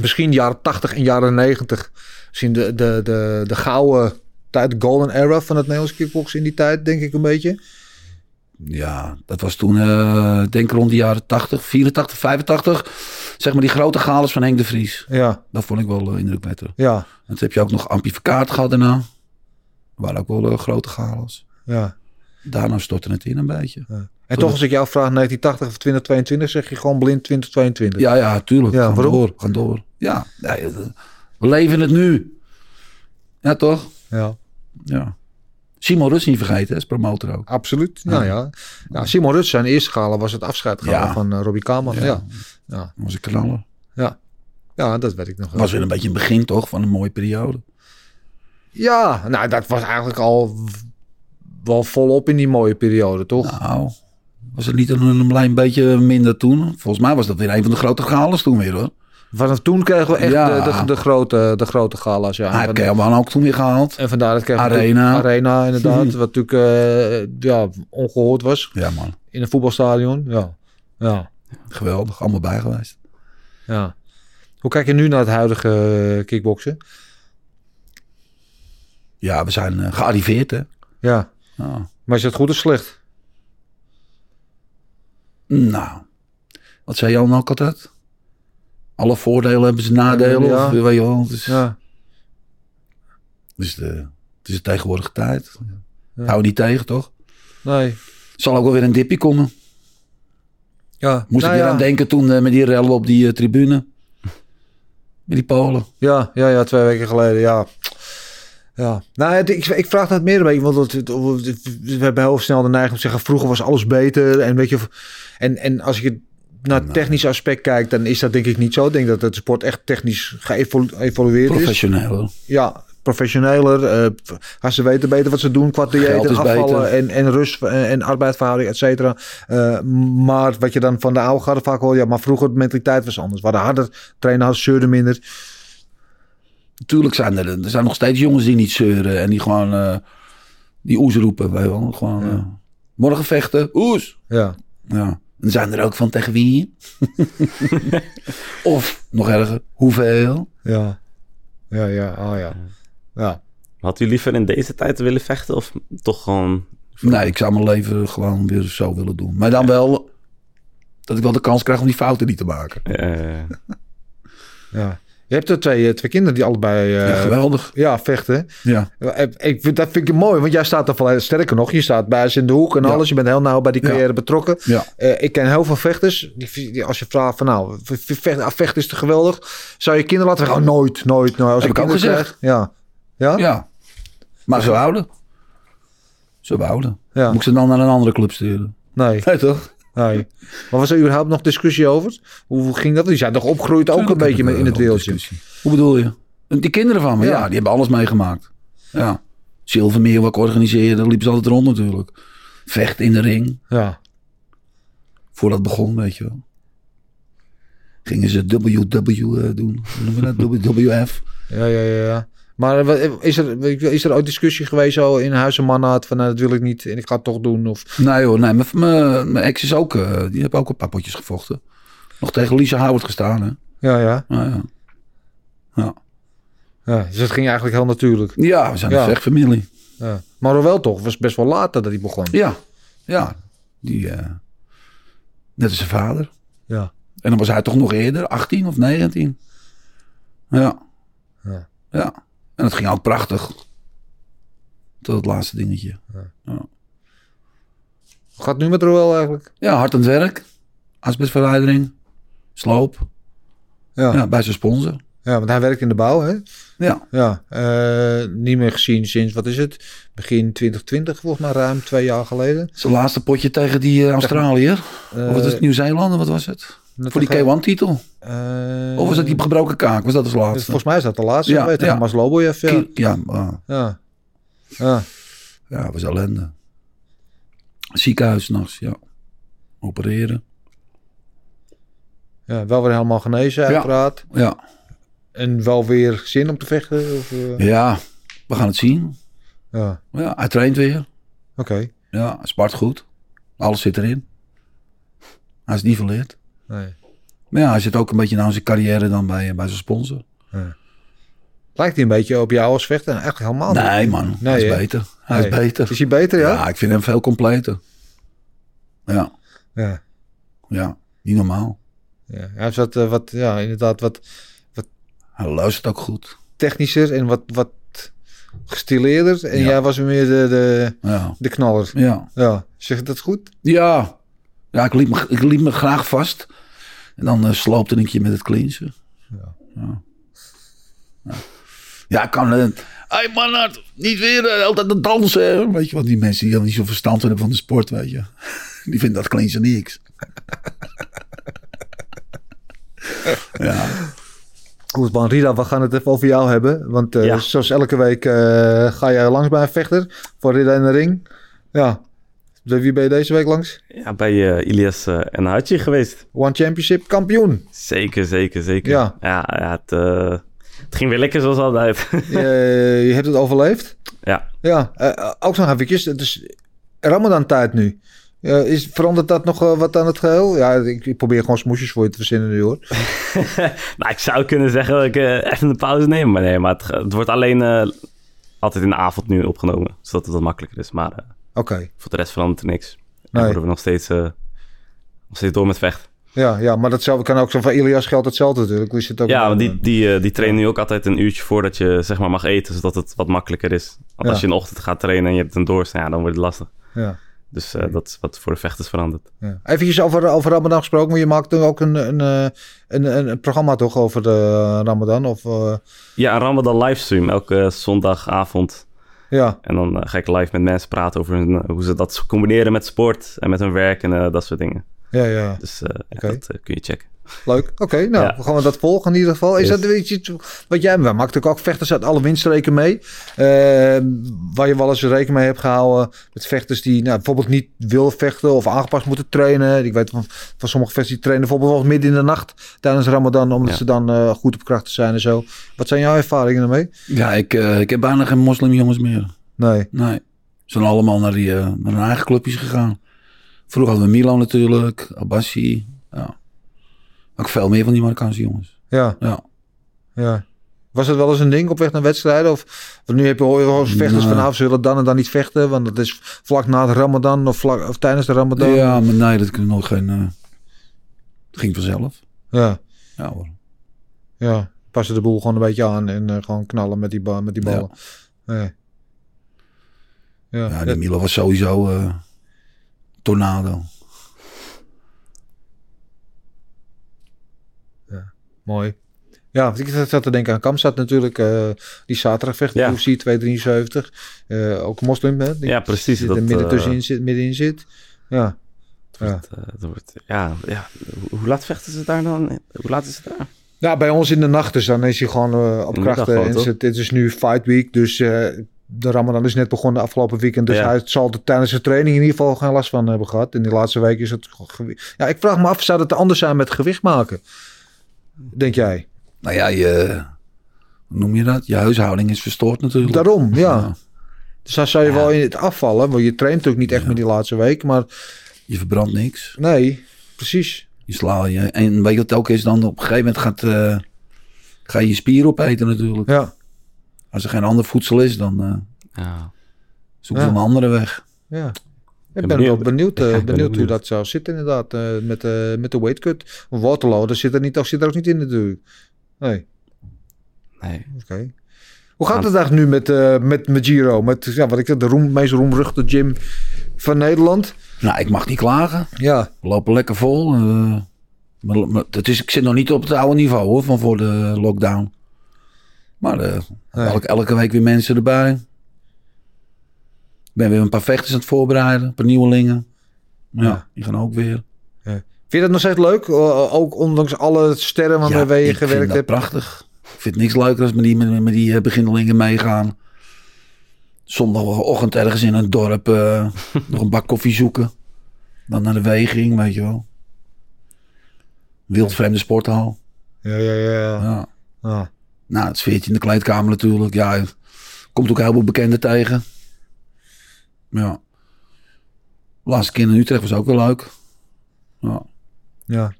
misschien jaren 80 en jaren 90. Misschien de, de, de, de gouden tijd, de golden era van het Nederlands kickboksen in die tijd, denk ik een beetje.
Ja, dat was toen, eh, denk rond de jaren 80, 84, 85. Zeg maar die grote galas van Henk de Vries.
Ja,
Dat vond ik wel eh, indrukwekkend.
ja,
En toen heb je ook nog amplificaat gehad daarna. Dat waren ook wel eh, grote galas.
ja.
Daarna stortte het in een beetje.
En toch als ik jou vraag 1980 of 2022, zeg je gewoon blind 2022.
Ja, ja, tuurlijk.
Ja,
gaan
waarom?
door, gaan door. Ja, nee, eh, we leven het nu. Ja, toch?
ja.
Ja. Simon Rus niet vergeten, hè, is promotor ook.
Absoluut. Nou ja. ja Simon Rut, zijn eerste gala was het afscheidgala
Ja.
van eh, Robbie Kamer. Ja. Ja.
Dat was een knaller.
ja. dat weet ik nog wel.
was weer een beetje een begin, toch, van een mooie periode.
Ja, nou dat was eigenlijk al w- wel volop in die mooie periode, toch?
Nou, was het niet een, een klein beetje minder toen? Volgens mij was dat weer een van de grote galas toen weer, hoor.
Vanaf toen kregen we echt
Ja.
de, de, de grote, de grote gala's. Ja.
Ah,
en,
heb
van-
Kelman ook toen weer gehaald.
en vandaar dat kregen we
Arena.
natuurlijk- Arena, inderdaad. Wat natuurlijk eh, ja, ongehoord was
Ja, man.
in een voetbalstadion. Ja. Ja.
Geweldig. Allemaal bij geweest.
ja. Hoe kijk je nu naar het huidige eh, kickboksen?
Ja, we zijn eh, gearriveerd, hè.
Ja.
Ja.
Maar is het goed of slecht?
Nou, wat zei Jan ook altijd? Alle voordelen hebben ze nadelen.
Ja.
Of, weet je wel, het is,
Ja.
het is de, het is de tegenwoordige tijd. Hou niet tegen, toch?
Nee.
Zal ook wel weer een dipje komen.
Ja.
Moest
Nou
ik
ja.
weer aan denken toen eh, met die rellen op die eh, tribune. Met die Polen.
Ja, ja, ja, twee weken geleden, ja. Ja, nou, het, ik, ik vraag dat meer een beetje, want het- het- we hebben heel snel de neiging om te zeggen, vroeger was alles beter. En, weet je, en, en als je naar het technisch aspect kijkt, dan is dat denk ik niet zo. Ik denk dat het sport echt technisch geëvolueerd is.
Professioneel. hoor.
Ja, professioneler. eh, gaan ze weten beter wat ze doen qua dieet
Geld
en
is
afvallen
beter.
en, en rust en, en arbeidsverhouding, et cetera. Eh, maar wat je dan van de oude garde vaak hoort, ja, maar vroeger de mentaliteit was anders. We hadden harder, trainen harder, zeurden minder.
Natuurlijk zijn er, er zijn nog steeds jongens die niet zeuren. En die gewoon eh, die oes roepen. Weet je wel. Gewoon, eh, morgen vechten. Oes.
Ja.
Ja. En er zijn er ook van tegen wie? of nog erger, hoeveel?
Ja. Ja, ja, oh ja. Ja.
Had u liever in deze tijd willen vechten of toch gewoon...
Nee, ik zou mijn leven gewoon weer zo willen doen. Maar dan wel dat ik wel de kans krijg om die fouten niet te maken.
eh,
ja. Je hebt er twee, eh, twee kinderen die allebei eh,
ja, geweldig.
ja, vechten.
Ja.
Ja, Ik, ik vind, dat vind ik mooi, want jij staat er volledig sterker nog. Je staat bij ze in de hoek en
Ja.
alles. Je bent heel nauw bij die
Ja.
carrière betrokken.
Ja.
Eh, ik ken heel veel vechters. Die, die- als je vraagt van nou, v- v- vechten, ah, vechten is te geweldig. Zou je kinderen laten zeggen? Oh, nooit, nooit, nooit. Als
Heb ik ook
kinderen
gezegd.
krijg- ja. Ja?
ja. Maar zo houden. Zo houden.
Ja.
Moet ik ze dan naar een andere club sturen?
Nee,
Nee, toch?
nee. Maar was er überhaupt nog discussie over? Hoe hoe ging dat? Die zijn toch opgegroeid ook een beetje met- in het wereldje.
Hoe bedoel je? Die kinderen van me, ja.
Ja.
die hebben alles meegemaakt. Ja. Zilvermeer, wat ik organiseerde, liepen ze altijd rond natuurlijk. Vecht in de ring.
Ja.
voordat het begon, weet je wel. Gingen ze WW eh, doen. Hoe noemen we dat? WWF.
Ja, ja, ja. ja. Maar eh, wat- is er, is er ooit discussie geweest zo in huis en mannaat van nou, dat wil ik niet en ik ga het toch doen? Of,
Nee hoor, nee. mijn- Mijn mijn ex is ook, eh, die heeft ook een paar potjes gevochten. Nog tegen Lisa Howard gestaan, hè.
ja, ja,
Nou ja. Ja.
ja. Dus het ging eigenlijk heel natuurlijk.
ja, we zijn
Ja.
een vechtfamilie.
Ja. Maar hoewel toch, was best wel later dat hij begon.
Ja, ja. Die, eh, net als zijn vader.
Ja.
En dan was hij toch nog eerder, 18 of 19. Ja.
Ja.
Ja. En dat ging ook prachtig. Tot het laatste dingetje.
Hoe gaat het nu met Roel eigenlijk?
Ja, hard aan het werk. Asbestverwijdering. Sloop.
Ja.
Ja.
ja.
bij zijn sponsor.
want hij werkt in de bouw, hè?
Ja,
Ja. eh, niet meer gezien sinds, wat is het? Begin 2020, volgens mij ruim twee jaar geleden.
zijn laatste potje tegen die eh, Australiër. of was het Nieuw-Zeeland, wat was het? Voor die K1-titel.
Eh,
Of was dat die gebroken kaak? Was dat als
dus
laatste?
Volgens mij is dat de laatste,
Ja,
ja, weet je,
ja.
ja. Maslobojev, ja.
Ki- Ja, ah,
ja. Ja.
ja, was ellende. Ziekenhuis s'nachts, ja. opereren.
Ja, wel weer helemaal genezen, uiteraard.
Ja,
En wel weer zin om te vechten? Of, eh,
ja we gaan het zien.
Ja,
Ja, hij traint weer.
oké.
Ja, hij spart goed. Alles zit erin. Hij is niet verleerd.
Nee.
Maar ja, hij zit ook een beetje na zijn carrière dan bij, bij zijn sponsor.
Lijkt hij een beetje op jou als vechter? Nou, Echt helemaal niet.
Nee man, hij
Nee,
is
hè?
beter. Hij
Nee.
is beter.
Is hij beter, ja?
Ja, ik vind hem veel completer. Ja,
Ja.
ja, niet normaal.
ja. Hij is wat, eh, wat, ja, inderdaad wat
Hij luistert ook goed.
technischer en wat, wat gestileerder. En
Ja.
jij was meer de, de,
Ja,
de knaller.
ja.
Ja, zeg ik dat goed?
Ja, ja ik, liep me, ik liep me graag vast. En dan eh, sloopte ik je met het clinchen. Ja. Ja. Ja, ik kan... eh, hey Manhart, niet weer eh, altijd aan het dansen. hè. Weet je wat, die mensen die dan niet zo verstand hebben van de sport, weet je. Die vinden dat clinchen niks. ja,
Goed, man, Rida, we gaan het even over jou hebben. Want eh,
Ja.
zoals elke week eh, ga jij langs bij een vechter voor Rida in de ring. Ja. Bij Wie ben je deze week langs?
Ja, bij eh, Ilias eh, en Hachi geweest.
One Championship kampioen.
Zeker, zeker, zeker.
Ja.
Ja, ja, het, eh, het ging weer lekker zoals altijd.
je, Eh, je hebt het overleefd.
ja.
Ja, eh, ook nog eventjes. Het is Ramadan-tijd nu. Eh, is, verandert dat nog eh, wat aan het geheel? Ja, ik, ik probeer gewoon smoesjes voor je te verzinnen nu hoor.
nou, ik zou kunnen zeggen dat ik eh, even een pauze neem. Maar nee, maar het, ge- het wordt alleen eh, altijd in de avond nu opgenomen. Zodat het wat makkelijker is. Maar eh,
Oké,
voor de rest verandert er niks. En
Nee.
worden we nog steeds, eh, nog steeds door met vechten.
ja, ja, maar dat zou, kan ook zo van Ilias geldt hetzelfde natuurlijk. Is het ook
Ja,
een-
want die, die, eh, die trainen nu ook altijd een uurtje voordat je zeg maar mag eten, zodat het wat makkelijker is. Want
Ja.
als je in de ochtend gaat trainen en je hebt een doorsnee, ja, dan wordt het lastig.
ja,
Dus eh, dat is wat voor de vechters verandert.
ja. Eventjes over, over Ramadan gesproken, maar je maakt toen ook een, een, eh, een, een, een programma toch over de Ramadan? Of, eh,
Ja, een Ramadan livestream elke eh, zondagavond.
ja,
En dan eh, ga ik live met mensen praten over hun, eh, hoe ze dat combineren met sport en met hun werk en eh, dat soort dingen.
ja, ja,
Dus eh, ja,
Oké.
dat eh, kun je checken.
leuk. Oké, nou,
Ja.
we gaan we dat volgen in ieder geval. Is
Yes.
dat weet je, wat jij maakt natuurlijk ook vechters uit alle winstreken mee. Eh, waar je wel eens rekening mee hebt gehouden met vechters die nou, bijvoorbeeld niet wil vechten of aangepast moeten trainen. Ik weet van, van sommige vechters die trainen bijvoorbeeld wel midden in de nacht tijdens Ramadan, omdat
Ja.
ze dan eh, goed op krachten zijn en zo. Wat zijn jouw ervaringen daarmee?
ja ik, eh, ik heb bijna geen moslimjongens meer.
Nee.
Nee. Ze zijn allemaal naar, die, eh, naar hun eigen clubjes gegaan. Vroeger hadden we Milan natuurlijk, Abassi. Ja. Ook veel meer van die Marokkaanse jongens.
Ja,
Ja.
ja. Was het wel eens een ding op weg naar wedstrijden? Of want nu heb je hoor je wel eens vechters
Nou.
van nou, ze willen dan en dan niet vechten, want dat is vlak na de Ramadan of, vlak, of tijdens de Ramadan.
Ja, maar nee, dat kunnen nog geen. eh, Het ging vanzelf.
ja.
Ja hoor.
Ja, passen de boel gewoon een beetje aan en eh, gewoon knallen met die, ba met die
Ja.
ballen. Ja, ja,
Ja, die
dat-
Milan was sowieso eh, tornado.
mooi. Ja, want ik zat- zat te denken aan Kamzat natuurlijk. eh, die zaterdag vecht
Ja.
UFC 273. eh, ook moslim, hè? Die
Ja, precies,
Die
dat,
er midden
eh,
tussenin zit, middenin zit. Ja.
Het wordt, eh, het wordt, ja, ja. Hoe- Hoe laat vechten ze daar dan? Hoe laat is het daar?
ja, Nou, bij ons in de nacht. Dus dan is hij gewoon eh, op
In de middag
krachten.
gewoon,
En
toch?
het, het is nu fight week. Dus eh, de Ramadan is net begonnen afgelopen weekend. Dus
Ja.
hij zal er tijdens de training in ieder geval geen last van hebben gehad. In die laatste week is het... gewi- Ja, ik vraag me af, zou dat anders zijn met gewicht maken? Denk jij?
Nou ja, je. Hoe noem je dat? Je huishouding is verstoord natuurlijk.
Daarom, ja.
Ja.
Dus dan zou je wel in het afvallen. Want je traint natuurlijk niet echt met die laatste week. Maar
Je verbrandt niks.
nee, precies.
Je slaat je. En weet je wat ook is dan? Op een gegeven moment gaat. eh, ga je je spier opeten natuurlijk.
Ja,
Als er geen ander voedsel is, dan. eh,
Ja.
Zoek
Ja.
een andere weg.
ja. Ik
ben
ben wel
benieuwd.
benieuwd, eh,
Ja, ik ben
benieuwd
ook
hoe
benieuwd.
dat zou zitten inderdaad. eh, met, eh, met de weight cut. Waterloo, dat zit er, niet, dat zit er ook niet in natuurlijk. Nee.
Nee.
Oké. Hoe gaat het eigenlijk nu met, eh, met, met Giro? Met ja, wat ik zeg, de roem, meest roemruchte gym van Nederland.
Nou, ik mag niet klagen.
Ja,
We lopen lekker vol. eh, maar, maar dat is, ik zit nog niet op het oude niveau hoor, van voor de lockdown. Maar eh,
Nee.
elke, elke week weer mensen erbij. Ik ben weer een paar vechters aan het voorbereiden. Een paar nieuwelingen. Ja,
Ja.
die gaan ook weer.
vind je dat nog steeds leuk? O- ook ondanks alle sterren waarmee
ja,
je
ik vind
gewerkt
dat
hebt.
prachtig. Ik vind niks leuker als met die, met, met die eh, beginnelingen meegaan. Zondagochtend ergens in een dorp eh, nog een bak koffie zoeken. Dan naar de weging, weet je wel. Wildvreemde sporthal.
Ja, ja, ja.
Ja.
Ah.
Nou, het sfeertje in de kleedkamer natuurlijk. Ja, je komt ook heel veel bekenden tegen. Ja. Laatste keer in Utrecht was ook wel leuk. Ja.
Ja.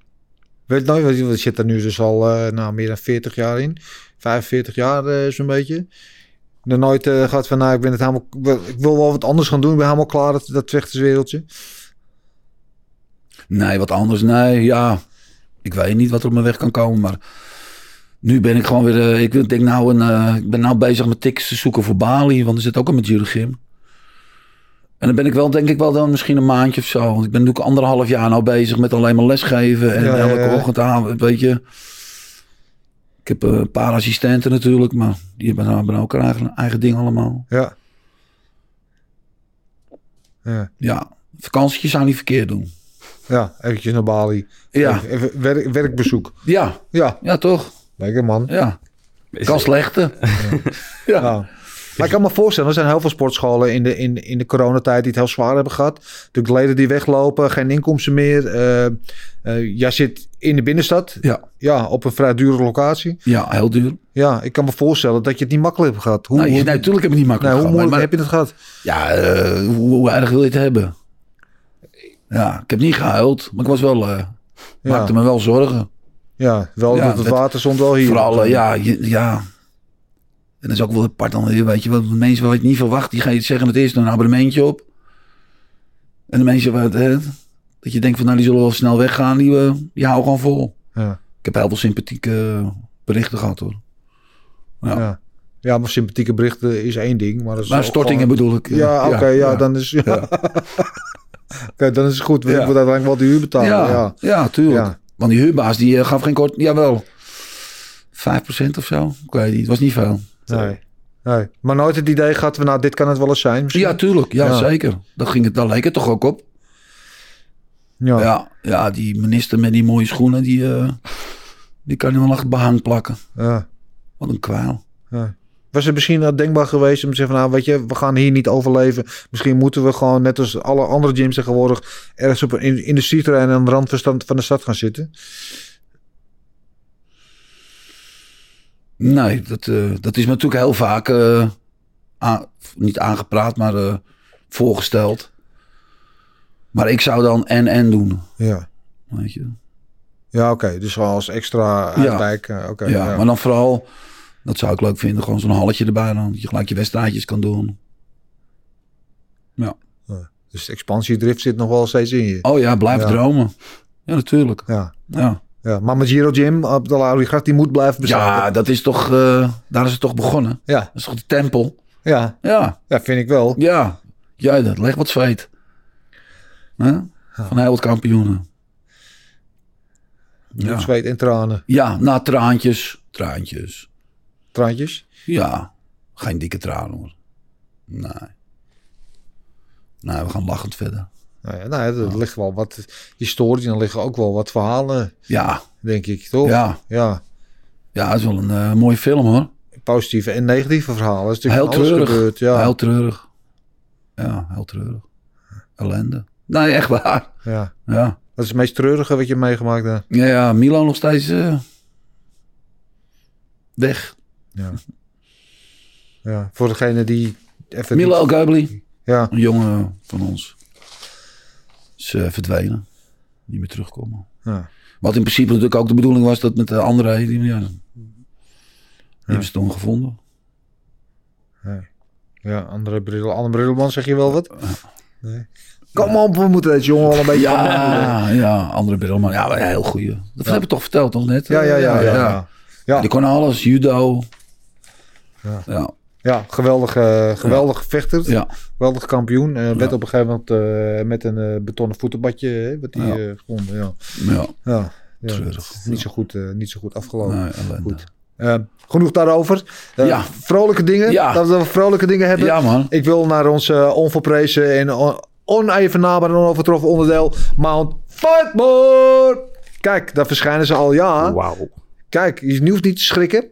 Weet nooit, want je zit er nu dus al eh, nou, meer dan 40 jaar in. 45 jaar eh, zo'n beetje. Nog nooit eh, gehad van, nou, ik ben het helemaal... Ik wil wel wat anders gaan doen. Ik ben helemaal klaar, dat, dat vechterswereldje.
Nee, wat anders. Nee, ja. Ik weet niet wat er op mijn weg kan komen, maar nu ben ik gewoon weer. eh, ik denk nou een, eh, ik ben nou bezig met tickets te zoeken voor Bali, want er zit ook een Jury Gym. En dan ben ik wel, denk ik wel, dan misschien een maandje of zo. Want ik ben natuurlijk anderhalf jaar nou bezig met alleen maar lesgeven en
Ja, ja,
elke
ja.
ochtend aan, weet je. Ik heb eh, een paar assistenten natuurlijk, maar die hebben nou- hebben ook hun eigen, eigen ding allemaal.
Ja. Ja,
Ja, vakantietjes zou niet verkeerd doen.
ja eventjes naar Bali.
Ja,
Even- Even werk, werkbezoek.
ja,
Ja,
ja toch?
lekker man.
Ja,
Is-
kan slechter. ja.
Ja. Maar ik kan me voorstellen, er zijn heel veel sportscholen in de, in, in de coronatijd die het heel zwaar hebben gehad. Natuurlijk leden die weglopen, geen inkomsten meer. Eh, eh, jij zit in de binnenstad,
Ja,
ja, op een vrij dure locatie.
ja heel duur.
Ja, ik kan me voorstellen dat je het niet makkelijk hebt gehad. Hoe,
nou, je,
hoe-
nee, natuurlijk heb ik het niet
nee,
makkelijk
hoe
gehad,
moeilijk
maar-
heb je het gehad?
Ja, eh, hoe, hoe erg wil je het hebben? Ja, ik heb niet gehuild, maar ik was wel, eh, maakte
Ja,
me wel zorgen.
ja wel
Ja,
dat het
dat-
water stond wel hier.
Vooral, eh, ja, je- ja. En dat is ook wel apart dan weer, weet je. Want de mensen waar je het niet verwacht, die gaan je zeggen, het is een abonnementje op. En de mensen waar het, hè, dat je denkt van, nou, die zullen wel snel weggaan, die, eh, die houden gewoon vol.
Ja,
Ik heb heel veel sympathieke eh, berichten gehad, hoor. Ja.
ja. ja, maar sympathieke berichten is één ding. Maar, dat is
Maar
ook
stortingen
gewoon-
bedoel ik. eh,
Ja, oké, ja, dan is... Ja.
Ja.
Oké, dan is het goed. want
Ja.
Ik moet uiteindelijk wel de huur betalen.
Ja, ja.
ja.
tuurlijk.
Ja.
Want die huurbaas die eh, gaf geen kort. Jawel. 5% of zo. Ik weet niet. Het was niet veel.
Nee. nee. Maar nooit het idee gehad van, nou, dit kan het wel eens zijn misschien?
Ja, tuurlijk. Ja,
Ja.
zeker. Dat ging het, daar leek het toch ook op.
Ja. ja.
Ja, ja, die minister met die mooie schoenen, die, eh, die kan nu wel achter het behang plakken. Wat een kwijl.
ja. Was het misschien wel denkbaar geweest om te zeggen van, nou, weet je, we gaan hier niet overleven. Misschien moeten we gewoon, net als alle andere gyms tegenwoordig, ergens op een in- industrieterrein aan de rand van stand- van de stad gaan zitten?
Nee, dat, eh, dat is me natuurlijk heel vaak eh, aan- niet aangepraat, maar eh, voorgesteld. Maar ik zou dan en en doen.
Ja.
Weet je.
Ja, oké. Dus wel als extra
Ja.
uitkijk. eh, Oké.
ja,
ja.
maar dan vooral, dat zou ik leuk vinden, gewoon zo'n halletje erbij dan. Dat je gelijk je wedstrijdjes kan doen.
Dus de expansiedrift zit nog wel steeds in je.
Oh ja, blijf
Ja.
dromen. Ja, natuurlijk.
Ja.
Ja,
ja. Maar met Giro Gym, op de Laurigracht, die moet blijven
ja
bestaan.
dat is toch, eh, daar is het toch begonnen.
Ja.
Dat is toch de tempel?
Ja.
Ja,
ja, vind ik wel.
ja. Jij dat, leg wat zweet. Hè? Van heel wat kampioenen.
Bloed,
Ja,
Zweet en tranen.
ja na traantjes. Traantjes.
Traantjes.
Ja, geen dikke tranen hoor. Nee. Nee, we gaan lachend verder.
Nou ja, nou, ja, er ligt wel wat historie en er liggen ook wel wat verhalen,
Ja,
denk ik, toch?
ja.
Ja,
Ja, het is wel een eh, mooie film hoor.
positieve en negatieve verhalen. Dat is
Heel
natuurlijk van alles
treurig.
gebeurd, ja.
Heel treurig. Ja, heel treurig. Ellende. Nee, echt waar.
ja.
Ja,
Dat is het meest treurige wat je meegemaakt hebt.
ja, ja Milan nog steeds eh, weg.
Ja. ja. Voor degene die even...
Milo Guibli,
Ja,
een jongen van ons, is eh, verdwenen. Niet meer terugkomen.
ja.
Wat in principe natuurlijk ook de bedoeling was dat met de andere... Die, ja, die hebben ze toen gevonden.
ja andere bril. Anne Brilman, zeg je wel wat? Nee. Kom op, we moeten deze jongen wel een beetje...
Ja, ja, andere Brilman. Ja, maar een heel goeie. Dat heb ik toch verteld al net?
Ja, ja, ja, ja. ja. Ja.
Die kon alles, judo.
Ja.
ja.
Ja, geweldig, eh, geweldig vechter.
Ja,
Geweldig kampioen. eh werd
Ja.
op een gegeven moment eh, met een eh, betonnen voetenbadje. Hè, wat die
Ja.
eh, gevonden. Ja.
ja.
Ja, ja,
Treurig.
Niet, zo goed, eh, niet zo goed afgelopen.
Nee, ellende.
Goed. Eh, genoeg daarover. Eh,
Ja.
Vrolijke dingen.
Ja.
Dat we onvrolijke dingen hebben.
Ja, man.
Ik wil naar ons eh, onvolprezen en on onevenaarbaar en onovertroffen onderdeel Mount Fightmore. Kijk, daar verschijnen ze al, ja.
Wauw.
Kijk, je hoeft niet te schrikken.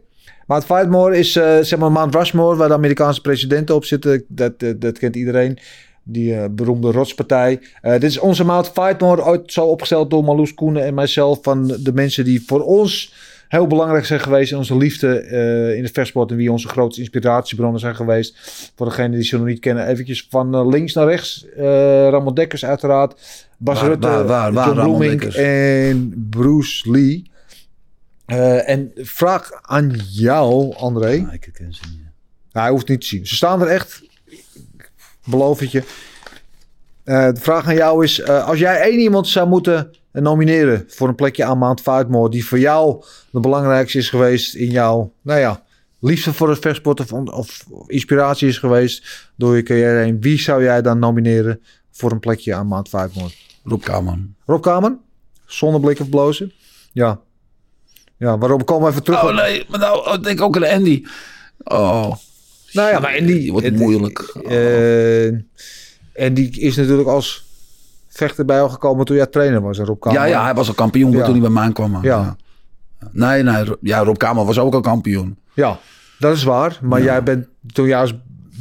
Mount Fightmore is eh, zeg maar Mount Rushmore, waar de Amerikaanse presidenten op zitten. Dat, dat, dat kent iedereen. Die eh, beroemde rotspartij. Eh, dit is onze maat Fight Mode, ooit zo opgesteld door Marloes Koenen en mijzelf. Van de mensen die voor ons heel belangrijk zijn geweest in onze liefde eh, in de versport. En wie onze grootste inspiratiebronnen zijn geweest. Voor degenen die ze nog niet kennen, eventjes van eh, links naar rechts. Eh, Ramon Dekkers uiteraard. Bas
Waar-
Rutte,
waar- waar- waar
John
Ramon
Bloemink
Dekkers?
en Bruce Lee. Eh, en vraag aan jou, André.
Nou, ik herken ze niet.
Nou, hij hoeft niet te zien. Ze staan er echt. Ik Beloof het je. Eh, de vraag aan jou is: eh, als jij één iemand zou moeten nomineren voor een plekje aan Maand Vaartmoor, die voor jou de belangrijkste is geweest in jouw, nou ja, liefde voor het versport of, of inspiratie is geweest door je carrière heen, wie zou jij dan nomineren voor een plekje aan Maand Vaartmoor?
Rob Kaman.
Rob Kamer? Zonder blik of blozen? Ja. Ja, waarom komen we even terug?
Oh
op-
nee, maar nou oh, denk ook aan Andy. Oh,
Nou ja, maar en die
Die wordt moeilijk.
eh, en die is natuurlijk als vechter bij jou gekomen toen jij trainer was, hè, Rob Kamer.
ja, ja, hij was al kampioen
Ja.
toen hij bij mij kwam. man.
Ja.
Nee, nee, Ro- ja, Rob Kamer was ook al kampioen.
Ja, dat is waar. Maar jij bent toen jij als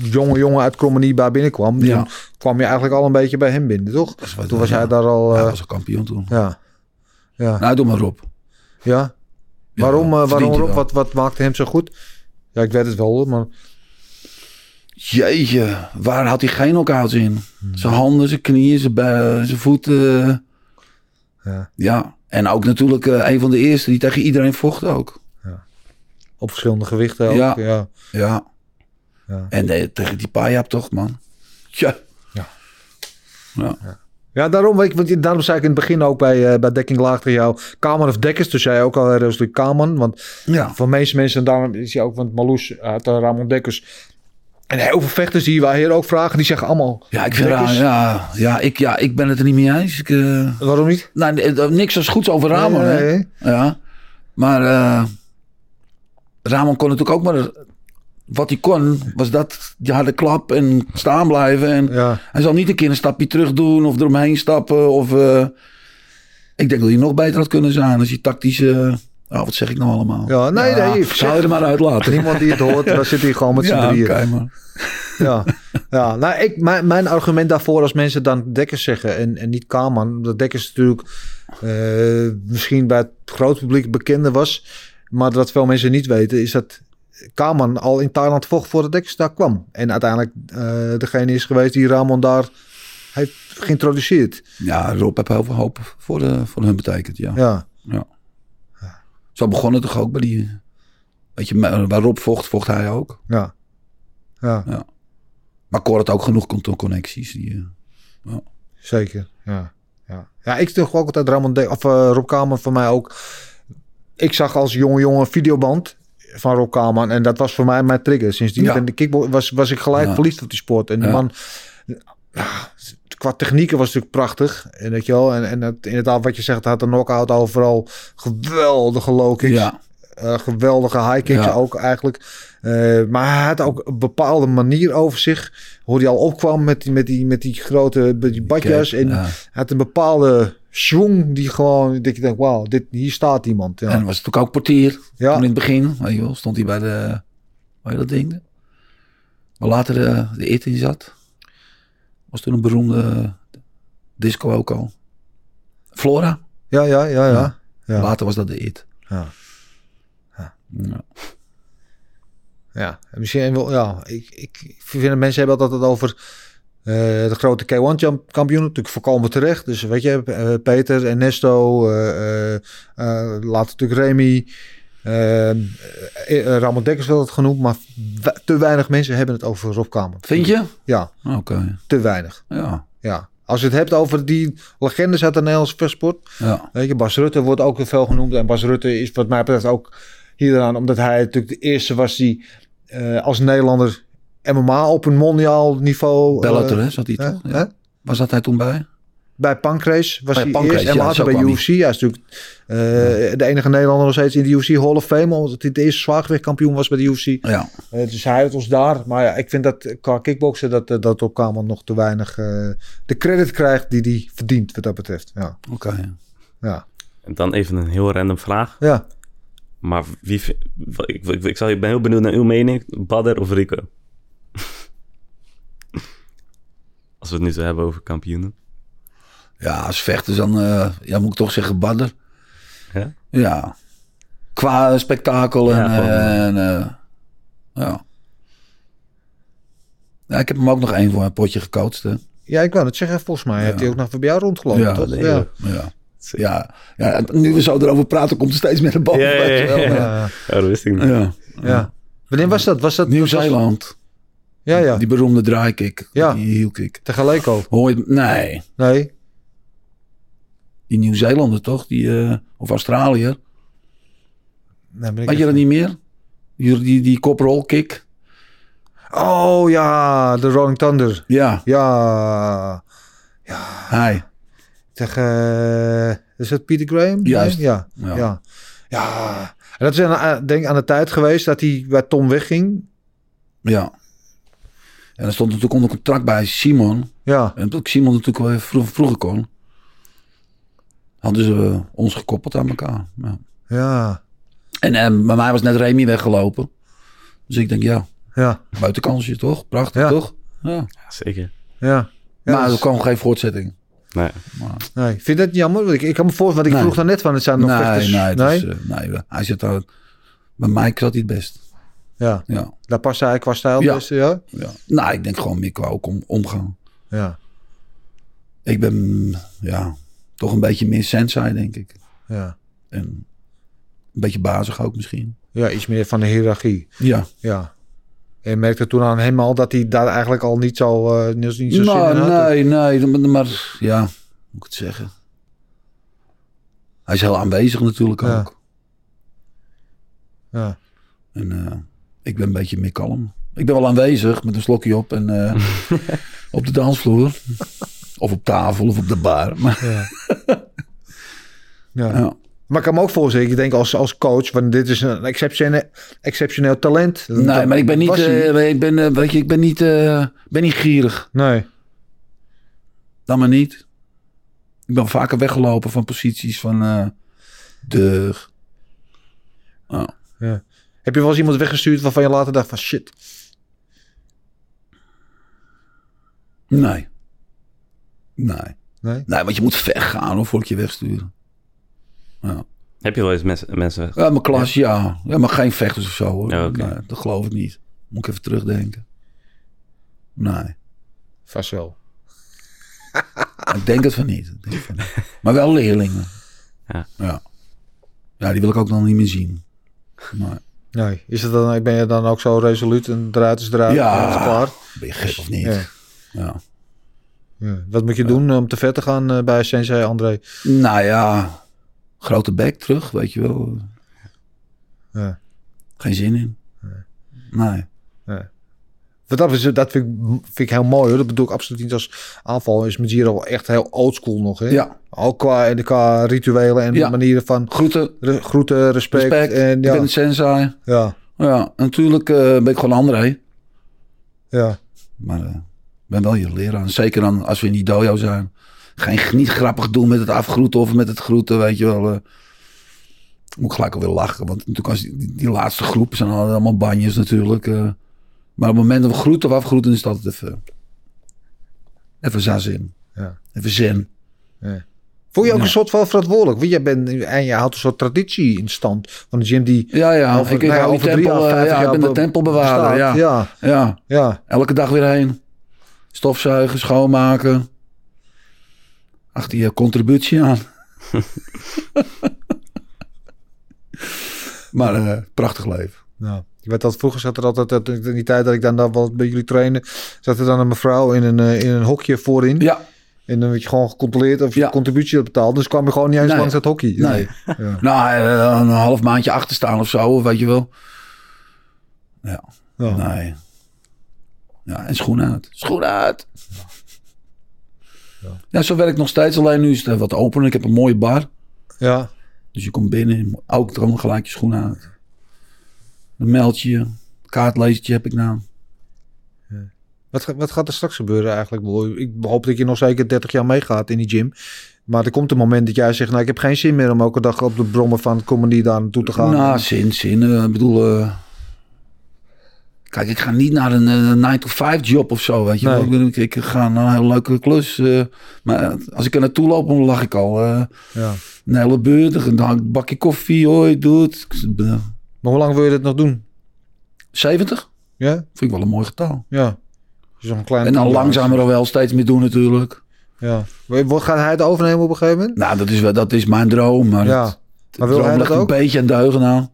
jonge jongen uit Krommenie bij binnenkwam,
Ja.
toen kwam je eigenlijk al een beetje bij hem binnen, toch?
is waar,
Toen was
ja.
hij daar al.
hij
eh,
was al kampioen toen.
ja. Ja.
Nou, doe maar Rob.
ja.
Ja,
waarom, eh, waarom
verdient hij
Rob?
wel.
Wat, wat maakte hem zo goed? Ja, ik weet het wel, hoor, maar
Jeetje, waar had hij geen knockouts in? Zijn handen, zijn knieën, zijn, bui- zijn voeten.
Ja.
Ja. En ook natuurlijk eh, een van de eerste die tegen iedereen vocht ook.
op verschillende gewichten. Ook, ja.
Ja.
ja.
Ja.
Ja.
En eh, tegen die Payap toch, man. Tja.
Ja.
Ja.
daarom, weet ik, want daarom zei ik in het begin ook bij, eh, bij Dekking Laag tegen jou, Kamer of Dekkers, toen zei jij ook al, eh, Rosalie Kamer, want
Ja.
Voor meeste mensen, en daarom is hij ook, want Marloes had uh, Ramon Dekkers. En heel veel vechters die wij hier ook vragen, die zeggen allemaal...
Ja, ik vind
Dekkers.
raar, ja, ja, ik, ja, ik ben het er niet mee eens. Ik, eh,
Waarom niet?
nou, nee, eh, niks als goeds over Ramon.
Nee,
hè.
nee.
Ja. Maar eh, Ramon kon natuurlijk ook maar... Wat hij kon, was dat die harde klap en staan blijven. En
Ja.
Hij zal niet een keer een stapje terug doen of eromheen stappen. Of, eh, ik denk dat hij nog beter had kunnen zijn als hij tactisch... eh, oh, wat zeg ik nou allemaal?
Ja, nee, nee,
Zou
zeg-
je er maar uit laten.
Niemand die het hoort, dan zit hij gewoon met z'n
Ja,
drieën.
oké, man.
Ja, ja. Nou, ik, mijn, mijn argument daarvoor als mensen dan Dekkers zeggen en, en niet Kaman. Dat Dekkers natuurlijk eh, misschien bij het groot publiek bekender was. Maar wat veel mensen niet weten is dat Kaman al in Thailand vocht voordat Dekkers daar kwam. En uiteindelijk eh, degene is geweest die Ramon daar heeft geïntroduceerd.
Ja, Rob heb heel veel hoop voor, eh, voor hun betekend, ja.
Ja.
Zo begon het toch ook bij die... Weet je, maar waar Rob vocht, vocht hij ook.
Ja. Ja,
Maar Cor had ook genoeg cont- connecties. Die, eh,
zeker. Ja. Ja. ja, ik toch ook altijd Ramon de of eh, Rob Kamer voor mij ook. Ik zag als jonge jongen een videoband van Rob Kamer en dat was voor mij mijn trigger. Sindsdien
Ja.
ben ik kickbo- was, was ik gelijk
Ja.
verliefd op die sport. En die
Ja.
man, ah, qua technieken was het natuurlijk prachtig. En, weet je wel, en, en het, inderdaad wat je zegt, hij had een knockout overal. Geweldige low kicks.
ja,
Eh, geweldige high kicks
Ja.
ook eigenlijk. Eh, maar hij had ook een bepaalde manier over zich. Hoe hij al opkwam met die, met die, met die grote met die badjas.
kijk,
en
ja.
hij had een bepaalde schwung die gewoon... Dat je denkt, wauw, dit, hier staat iemand. Ja,
En was natuurlijk ook portier.
ja.
Toen in het begin, weet je wel, stond hij bij de... Waar je dat ding? Waar later de, de IT in zat. Was toen een beroemde eh, disco ook al. Flora.
ja, ja, ja, ja. Ja.
Later was dat de IT.
Ja.
Ja.
Ja, en misschien wel. Ja, ik, ik vind dat mensen hebben altijd het over eh, de grote K1-kampioenen. Natuurlijk voorkomen terecht. Dus weet je, eh, Peter, Ernesto, eh, eh, eh, later natuurlijk Remy. eh, eh, Ramon Dekkers werd het genoemd, maar we- te weinig mensen hebben het over Rob Kamer.
Vind je?
Ja,
Oké,
te weinig.
ja.
Ja. Als je het hebt over die legendes uit de Nederlandse versport,
ja.
Weet je, Bas Rutte wordt ook veel genoemd. En Bas Rutte is wat mij betreft ook hieraan, omdat hij natuurlijk de eerste was die eh, als Nederlander MMA op een mondiaal niveau... eh,
Bellator, hè, zat hij
hè?
toch? Ja.
Hè?
Waar zat hij toen bij?
Bij Pancrase was
Bij
hij
Pancrase,
eerst en
ja,
later
zo
bij
kwam hij.
UFC. Hij is natuurlijk eh, de enige Nederlander nog steeds in de UFC Hall of Fame, omdat hij de eerste zwaargewichtkampioen was bij de UFC.
Ja.
Eh, dus hij heeft ons daar. Maar ja, ik vind dat eh, qua kickboksen dat, eh, dat op Kamer nog te weinig eh, de credit krijgt die hij verdient, wat dat betreft. Ja,
Oké.
ja.
En dan even een heel random vraag.
ja.
Maar wie vi- wa- ik, ik, ik, zou, ik ben heel benieuwd naar uw mening. Badder of Rico? Als we het nu zo hebben over kampioenen.
Ja, als vechters dan eh, ja, moet ik toch zeggen badder.
Ja?
Ja. Qua spektakel en...
Ja, gewoon,
eh, en, eh, ja. ja. Ik heb hem ook nog één voor een potje gecoacht. Hè.
Ja, ik wou het zeggen. Volgens mij heeft hij ook nog bij jou rondgelopen,
Ja,
toch?
nee,
ja.
Ja. Ja, ja, en nu we zo erover praten, komt er steeds meer naar boven.
Ja, ja,
weet je wel.
ja,
Ja,
Oh, dat wist ik niet.
Ja.
ja. Wanneer was dat? Was dat
Nieuw-Zeeland,
Ja, ja.
die beroemde draaikick,
Ja.
die hielkick.
Tegelijk ook.
Hoor je, nee,
Nee.
die Nieuw-Zeelander toch, die, eh, of Australiër.
nee ben ik
Had je
even-
dat niet meer? Die, die, die koprolkick.
Oh ja, de Rolling Thunder.
Ja,
Ja.
hij.
Tegen. eh, Is dat Peter Graham? Nee?
Juist.
Ja. Ja.
Ja.
ja. En dat is aan, denk ik aan de tijd geweest dat hij bij Tom wegging.
Ja. En er stond natuurlijk onder contract bij Simon.
Ja.
En toen Simon natuurlijk wel even vro- vroeger kon. Hadden ze eh, ons gekoppeld aan elkaar. Ja.
Ja.
En eh, bij mij was net Remy weggelopen. Dus ik denk, ja,
Ja.
buitenkansje toch? Prachtig
Ja.
toch? Ja.
Ja, zeker. Nou
Ja. Ja, dus-
maar
dat
er
is-
kwam geen voortzetting.
Nee.
nee. Vind je dat jammer? Want Ik, ik kan me voorstellen, want ik
Nee.
vroeg daar net van, het zijn nog
Nee,
vechters.
nee, het is, eh, nee, we- hij zit daar. Bij mij zat hij het best.
ja,
Ja,
daar past hij qua stijl
Ja.
best, ja?
ja. Nou, ik denk gewoon meer qua ook om, omgaan.
Ja,
Ik ben, mm, ja, toch een beetje meer sensei, denk ik.
ja.
En een beetje bazig ook misschien.
Ja, iets meer van de hiërarchie.
Ja.
Ja. En je merkte toen aan hem al dat hij daar eigenlijk al niet zo, eh, niet zo zin
Nou,
in had?
nee, nee, maar, maar ja, hoe moet ik het zeggen? Hij is heel aanwezig natuurlijk
Ja.
ook.
Ja.
En eh, ik ben een beetje meer kalm. Ik ben wel aanwezig met een slokje op en eh, op de dansvloer. Of op tafel of op de bar. Maar,
Ja. ja.
ja.
Maar ik kan me ook voorstellen, ik denk als, als coach, want dit is een exceptione- exceptioneel talent.
Nee,
Dat
maar ik ben niet,
was hij.
eh, ik ben, eh, weet je, ik ben niet, eh, ben niet gierig.
nee,
Dan maar niet. Ik ben vaker weggelopen van posities van eh de... Oh,
ja. Heb je wel eens iemand weggestuurd waarvan je later dacht van shit?
Nee. Nee.
Nee?
Nee, want je moet weggaan hoor, voor ik je wegsturen.
Heb je wel eens mes- mensen weg?
Ja, mijn klas, ja. ja. Maar geen vechters of zo hoor.
Ja, oké.
Nee, dat geloof ik niet. Moet ik even terugdenken. Nee,
Vast wel.
ik denk het van niet. Ik denk het van niet. Maar wel leerlingen.
Ja.
ja. Ja, die wil ik ook nog niet meer zien. Maar
Nee. Is het dan, ben je dan ook zo resoluut en eruit is eruit
Ja.
en het is klaar?
ben je gek of niet?
Ja.
Ja.
Ja. Wat moet je doen om te ver te gaan eh, bij Sensei André?
Nou ja, grote bek terug, weet je wel.
Ja.
Geen zin in. Nee.
Want dat, is, dat vind, ik, vind ik heel mooi hoor. Dat bedoel ik absoluut niet als aanval. Is Mejiro wel echt heel oldschool nog. Hè?
Ja,
Ook qua, qua rituelen en
Ja.
manieren van
groeten,
re- groeten, respect.
respect.
En,
Ik
ja,
ben een sensei.
ja,
Ja, en natuurlijk eh, ben ik gewoon André.
ja,
Maar eh, ik ben wel je leraar. En Zeker dan als we in die dojo zijn. Geen, niet grappig doen met het afgroeten of met het groeten, weet je wel. eh. moet ik gelijk alweer lachen. Want natuurlijk als die, die, die laatste groep zijn al- allemaal banjes natuurlijk. eh. maar op het moment dat we groeten of afgroeten is het altijd even... Even zas in.
Ja.
Even zen.
Voel je ook
Ja.
een soort van verantwoordelijk? Want jij bent, en je houdt een soort traditie in stand. Van de gym die
Ja, ja.
over,
ik ik
nou ja,
hou die
over drie
tempel,
jaar,
eh,
vijftig
ja, ik
jaar
ben de
be-
tempelbewaarder.
bestaat.
Ja. Ja.
ja, ja,
Elke dag weer heen. Stofzuigen, schoonmaken. Achter je contributie aan. maar eh, prachtig leven.
ja. Nou, Ik weet dat vroeger zat er altijd, dat- in die tijd dat ik dan, dan wel bij jullie trainen, zat er dan een mevrouw in een, eh, in een hokje voorin.
Ja,
En dan werd je gewoon gecontroleerd of je
Ja.
contributie had betaald. Dus kwam je gewoon niet eens
Nee.
langs het hockey.
nee.
Ja.
Nou, eh, een half maandje achter staan of zo, of weet je wel.
Ja.
Nee. Ja, en schoen uit. Schoen uit! Ja. zo werkt nog steeds. Alleen nu is het eh, wat opener. Ik heb een mooie bar.
Ja.
Dus je komt binnen, je moet ook dan gelijk je schoenen uit. Dan meld je je. Kaartlezertje heb ik nou.
Wat, ga- wat gaat er straks gebeuren eigenlijk? Ik bedoel, Ik hoop dat je nog zeker 30 jaar meegaat in die gym. Maar er komt een moment dat jij zegt... nou, ik heb geen zin meer om elke dag op de brommen van comedy daar naartoe te gaan.
Nou, zin, zin. eh, Ik bedoel, eh, Kijk, ik ga niet naar een eh, 9-to-5 job of zo, weet je wel. Ik, ik ga naar een hele leuke klus. eh, maar als ik er naartoe loop, dan lach ik al. eh
Ja.
een hele beurt, een hang- bakje koffie, hoi, doet. eh,
Maar hoe lang wil je dit nog doen?
70?
Ja?
Vind ik wel een mooi getal.
Ja. Dus nog een kleine
En dan
tien jaar.
langzamer wel steeds meer doen natuurlijk.
Ja. Wordt- Gaat hij het overnemen op een gegeven moment?
Nou, dat is, wel, dat is mijn droom. Maar
Ja.
het- het
Maar wil
Nou,
hij dat
droom ligt
ook?
een beetje aan de heugenaal.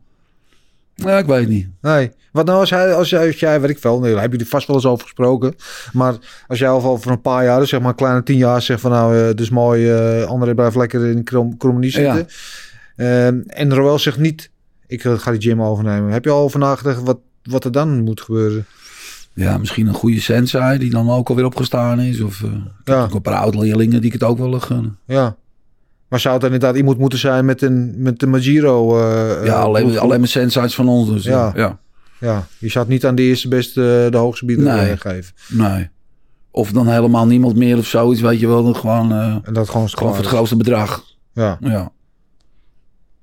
Ja, ik weet niet.
Nee. Wat nou als jij, als jij, als jij weet ik veel, nee, daar hebben jullie vast wel eens over gesproken. Maar als jij al over een paar jaar, dus zeg maar een kleine tien jaar, zegt van nou, eh, dus mooi, eh André blijft lekker in Krom- Krommenie
Ja.
zitten. Ehm, en Roel zegt niet, ik eh, ga die gym overnemen. Heb je al over nagedacht wat, wat er dan moet gebeuren?
Ja, misschien een goede sensei die dan ook alweer opgestaan is. Of eh,
Ja,
ook een paar oud-leerlingen die ik het ook wel eh, gunnen.
ja. Maar zou het dan inderdaad iemand moeten zijn met een, met de Magiro? eh, eh,
ja, alleen,
proefgroep?
alleen maar senseis van ons. Dus,
Ja.
ja. ja.
Ja, je zou het niet aan de eerste beste, eh, de hoogste bieder
Nee.
eh, geven.
Nee. Of dan helemaal niemand meer of zoiets, weet je wel. Dan gewoon, eh,
En dat gewoon,
gewoon voor het
klaar is.
grootste bedrag.
Ja,
Ja.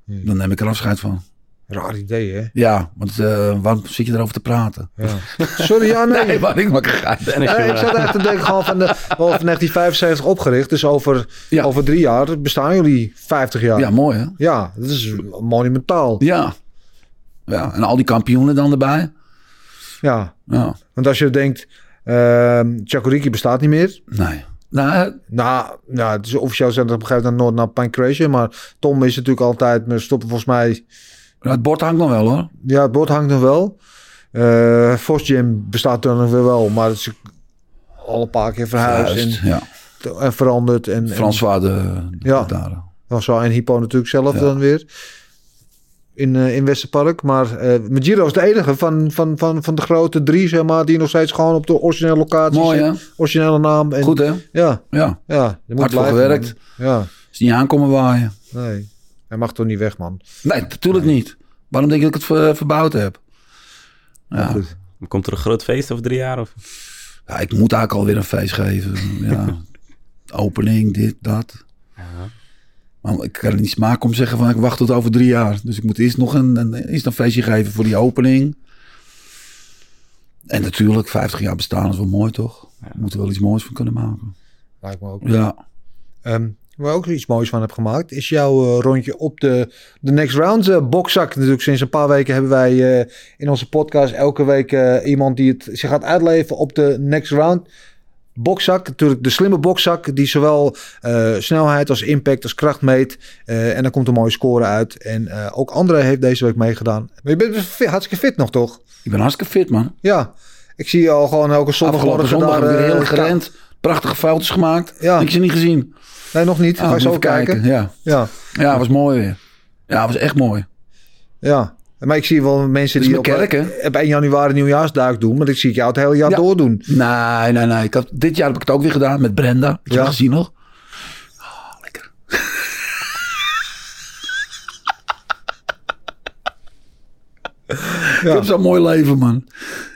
Hmm.
Dan neem ik er afscheid van.
raar idee hè?
Ja, want eh, waarom zit je erover te praten?
Ja. Sorry, ja, nee.
Nee, maar ik maak een geintje.
En als je
Nee, ik
maar-
zat echt te denken gewoon van, de, over 1975 opgericht. Dus over,
Ja.
over drie jaar bestaan jullie 50 jaar.
Ja,
Ja,
mooi hè?
dat is monumentaal.
Ja. Ja, en al die kampioenen dan erbij.
Ja,
Ja,
want als je denkt, ehm Chakuriki bestaat niet meer.
nee. Nou,
Nou, nou het is officieel zijn dat op een gegeven moment nooit naar Pancration. Maar Tom is natuurlijk altijd, we stoppen volgens mij...
het bord hangt nog wel hoor.
Ja, het bord hangt nog wel. Eh Vos Gym bestaat dan nog weer wel. Maar het is al een paar keer verhuisd
Juist, ja.
en, en veranderd. En, en-
François de, de
Ja.
daar.
Dan zo en Hippo natuurlijk zelf
Ja.
dan weer. In, eh, in Westerpark. Maar eh Giro is de enige van, van, van, van de grote drie, zeg maar, die nog steeds gewoon op de originele locatie
Mooi
zit.
hè?
Originele naam. En,
Goed hè?
Ja,
Ja.
ja. je moet
Hard voor
blijven,
gewerkt.
man. Ja,
Is niet aankomen waaien.
nee. Hij mag toch niet weg, man.
Nee, natuurlijk niet. Waarom denk je dat ik het ver- verbouwd heb? Ja.
Goed.
Komt er een groot feest over drie jaar? Of?
ja, ik moet eigenlijk alweer een feest geven. Ja. Opening, dit, dat. Maar ik kan er niet smaak om zeggen van ik wacht tot over drie jaar. Dus ik moet eerst nog een, een, eerst een feestje geven voor die opening. En natuurlijk, 50 jaar bestaan is wel mooi toch? We moeten wel iets moois van kunnen maken.
Lijkt me ook.
Ja,
Ehm, waar ik ook iets moois van heb gemaakt, is jouw eh, rondje op de, de Next Round eh, bokzak. Natuurlijk, sinds een paar weken hebben wij eh, in onze podcast elke week eh, iemand die het zich gaat uitleven op de Next Round bokzak. Natuurlijk de slimme bokzak die zowel eh, snelheid als impact als kracht meet. Eh, en daar komt een mooie score uit. En eh, ook André heeft deze week meegedaan. Maar je bent dus fi- hartstikke fit nog, toch?
ik ben hartstikke fit man.
Ja. Ik zie je al gewoon elke zondagmorgen
Afgelopen zondag heb ik
daar,
weer
eh,
heel gerend. Prachtige foutjes gemaakt.
Ja.
Ik ze niet gezien.
Nee, nog niet.
Ah,
Ga
moet
ik zo
even
kijken.
Ja.
Ja.
ja, was mooi weer. Ja, was echt mooi.
Ja, maar ik zie wel mensen
Dat is
die op,
mijn kerk,
op 1 januari nieuwjaarsduik doen. Maar ik zie ik jou het hele jaar
Ja.
doordoen.
Nee, nee, nee. Ik had, dit jaar heb ik het ook weer gedaan met Brenda. Heb je
Ja. Ah,
dat gezien nog? Ik heb zo'n mooi leven, man.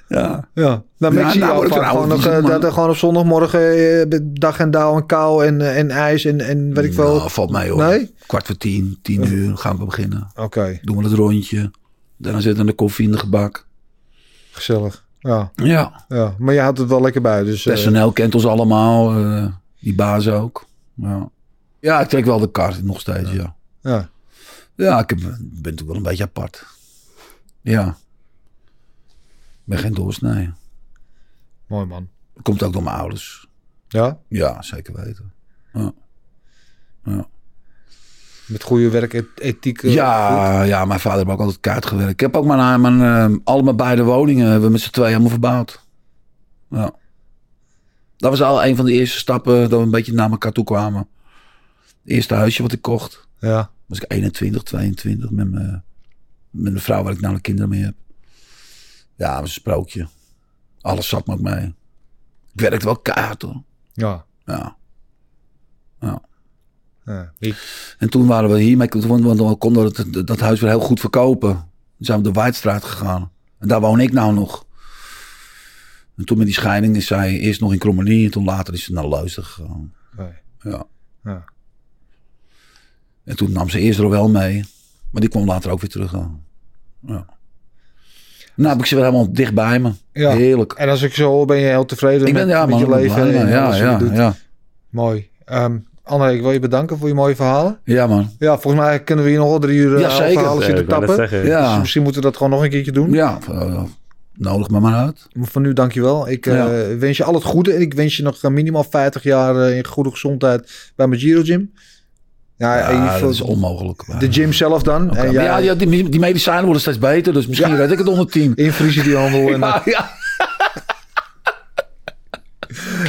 Ja.
Ja. Nou, maar
Ja,
ik zie
nou,
jou
ik
vaak
vind
gewoon nog,
het altijd
eh,
zo,
dat
man.
er gewoon op zondagmorgen eh, dag en dauw en kou en, eh, en ijs en, en weet ik veel.
Nou, valt mij op.
Nee?
Kwart voor tien, tien uur gaan we beginnen.
Oké,
Doen we het rondje. Daarna zitten we de koffie in de gebak.
gezellig. Ja,
Ja.
ja, maar je had het wel lekker bij. Dus, eh,
Personeel kent ons allemaal. eh, die baas ook. Ja. ja, ik trek wel de kaart nog steeds, ja.
eh, ja.
Ja, ik heb- ben natuurlijk wel een beetje apart. Ja. Ik ben geen doorsnijden.
Mooi man.
Dat komt ook door mijn ouders.
Ja,
Ja, zeker weten. Ja,
met goede werkethiek. eh, goed.
ja, ja, mijn vader heeft ook altijd kaart gewerkt. Ik heb ook mijn, mijn, eh, alle mijn beide woningen hebben we met z'n tweeën helemaal verbouwd. Ja. Dat was al een van de eerste stappen dat we een beetje naar elkaar toe kwamen. Het eerste huisje wat ik kocht,
Ja,
was ik 21, 22 met mijn, met mijn vrouw waar ik nou de kinderen mee heb. Ja, dat was een sprookje. Alles zat me ook mee. Ik werkte wel kaart hoor.
ja.
Ja.
ja. Ik-
En toen waren we hier, maar toen want we konden dat, dat huis weer heel goed verkopen. Toen zijn we de Waardstraat gegaan. En daar woon ik nou nog. En toen met die scheiding is zij eerst nog in Krommenie en toen later is ze naar Luister gegaan.
nee.
Ja.
Ja.
En toen nam ze eerst er wel mee, maar die kwam later ook weer terug aan. Nou heb ik ze weer helemaal dicht bij me.
Ja.
Heerlijk.
En als ik zo hoor, ben je heel tevreden
Ik ben,
met,
ja,
met
man,
je
helemaal
leven.
blij,
en
man.
alles
ja,
wat je
ja,
doet.
ja.
Mooi. Ehm André, ik wil je bedanken voor je mooie verhalen.
ja, man.
Ja, volgens mij kunnen we hier nog wel drie uur eh,
Ja,
aan
zeker.
verhalen
Ja,
zitten
ik wou net
tappen.
zeggen.
Dus
Ja,
misschien moeten we dat gewoon nog een keertje doen.
ja eh, nodig me maar uit.
Maar voor nu dankjewel. Ik eh,
Ja.
wens je al het goede. En ik wens je nog eh, minimaal 50 jaar eh, in goede gezondheid bij mijn Giro Gym. Ja, eh,
Ja,
en je-
dat is onmogelijk. maar-
de gym zelf dan. En
ja,
jij,
ja, die, die medicijnen worden steeds beter, dus misschien red ik het onder tien.
In Friesiehandel. En,
Ja, ja.
eh,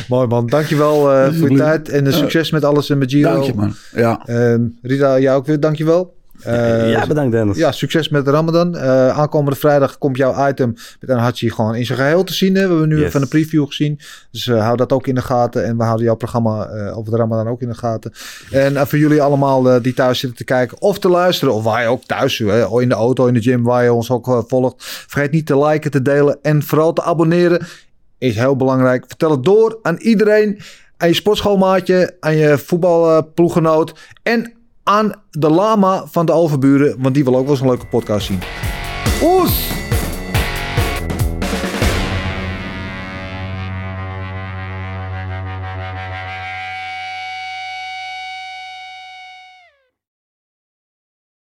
Mooi man. Dankjewel eh voor je tijd. En eh, succes met alles en met Giro.
Dank je, man. Ja.
Ehm, Rita, jou ook weer dankjewel. Eh,
ja, bedankt Dennis.
Ja, succes met de Ramadan. Eh, aankomende vrijdag komt jouw item met Anhachi gewoon in zijn geheel te zien. Hè. We hebben nu
Yes.
even een preview gezien. Dus eh, hou dat ook in de gaten. En we houden jouw programma eh, over de Ramadan ook in de gaten. En eh, voor jullie allemaal eh, die thuis zitten te kijken of te luisteren. Of waar je ook thuis, hè, in de auto, in de gym, waar je ons ook eh, volgt. Vergeet niet te liken, te delen en vooral te abonneren. Is heel belangrijk. Vertel het door aan iedereen. Aan je sportschoolmaatje, aan je voetbalploeggenoot. En aan de lama van de overburen, want die wil ook wel eens een leuke podcast zien. Oes!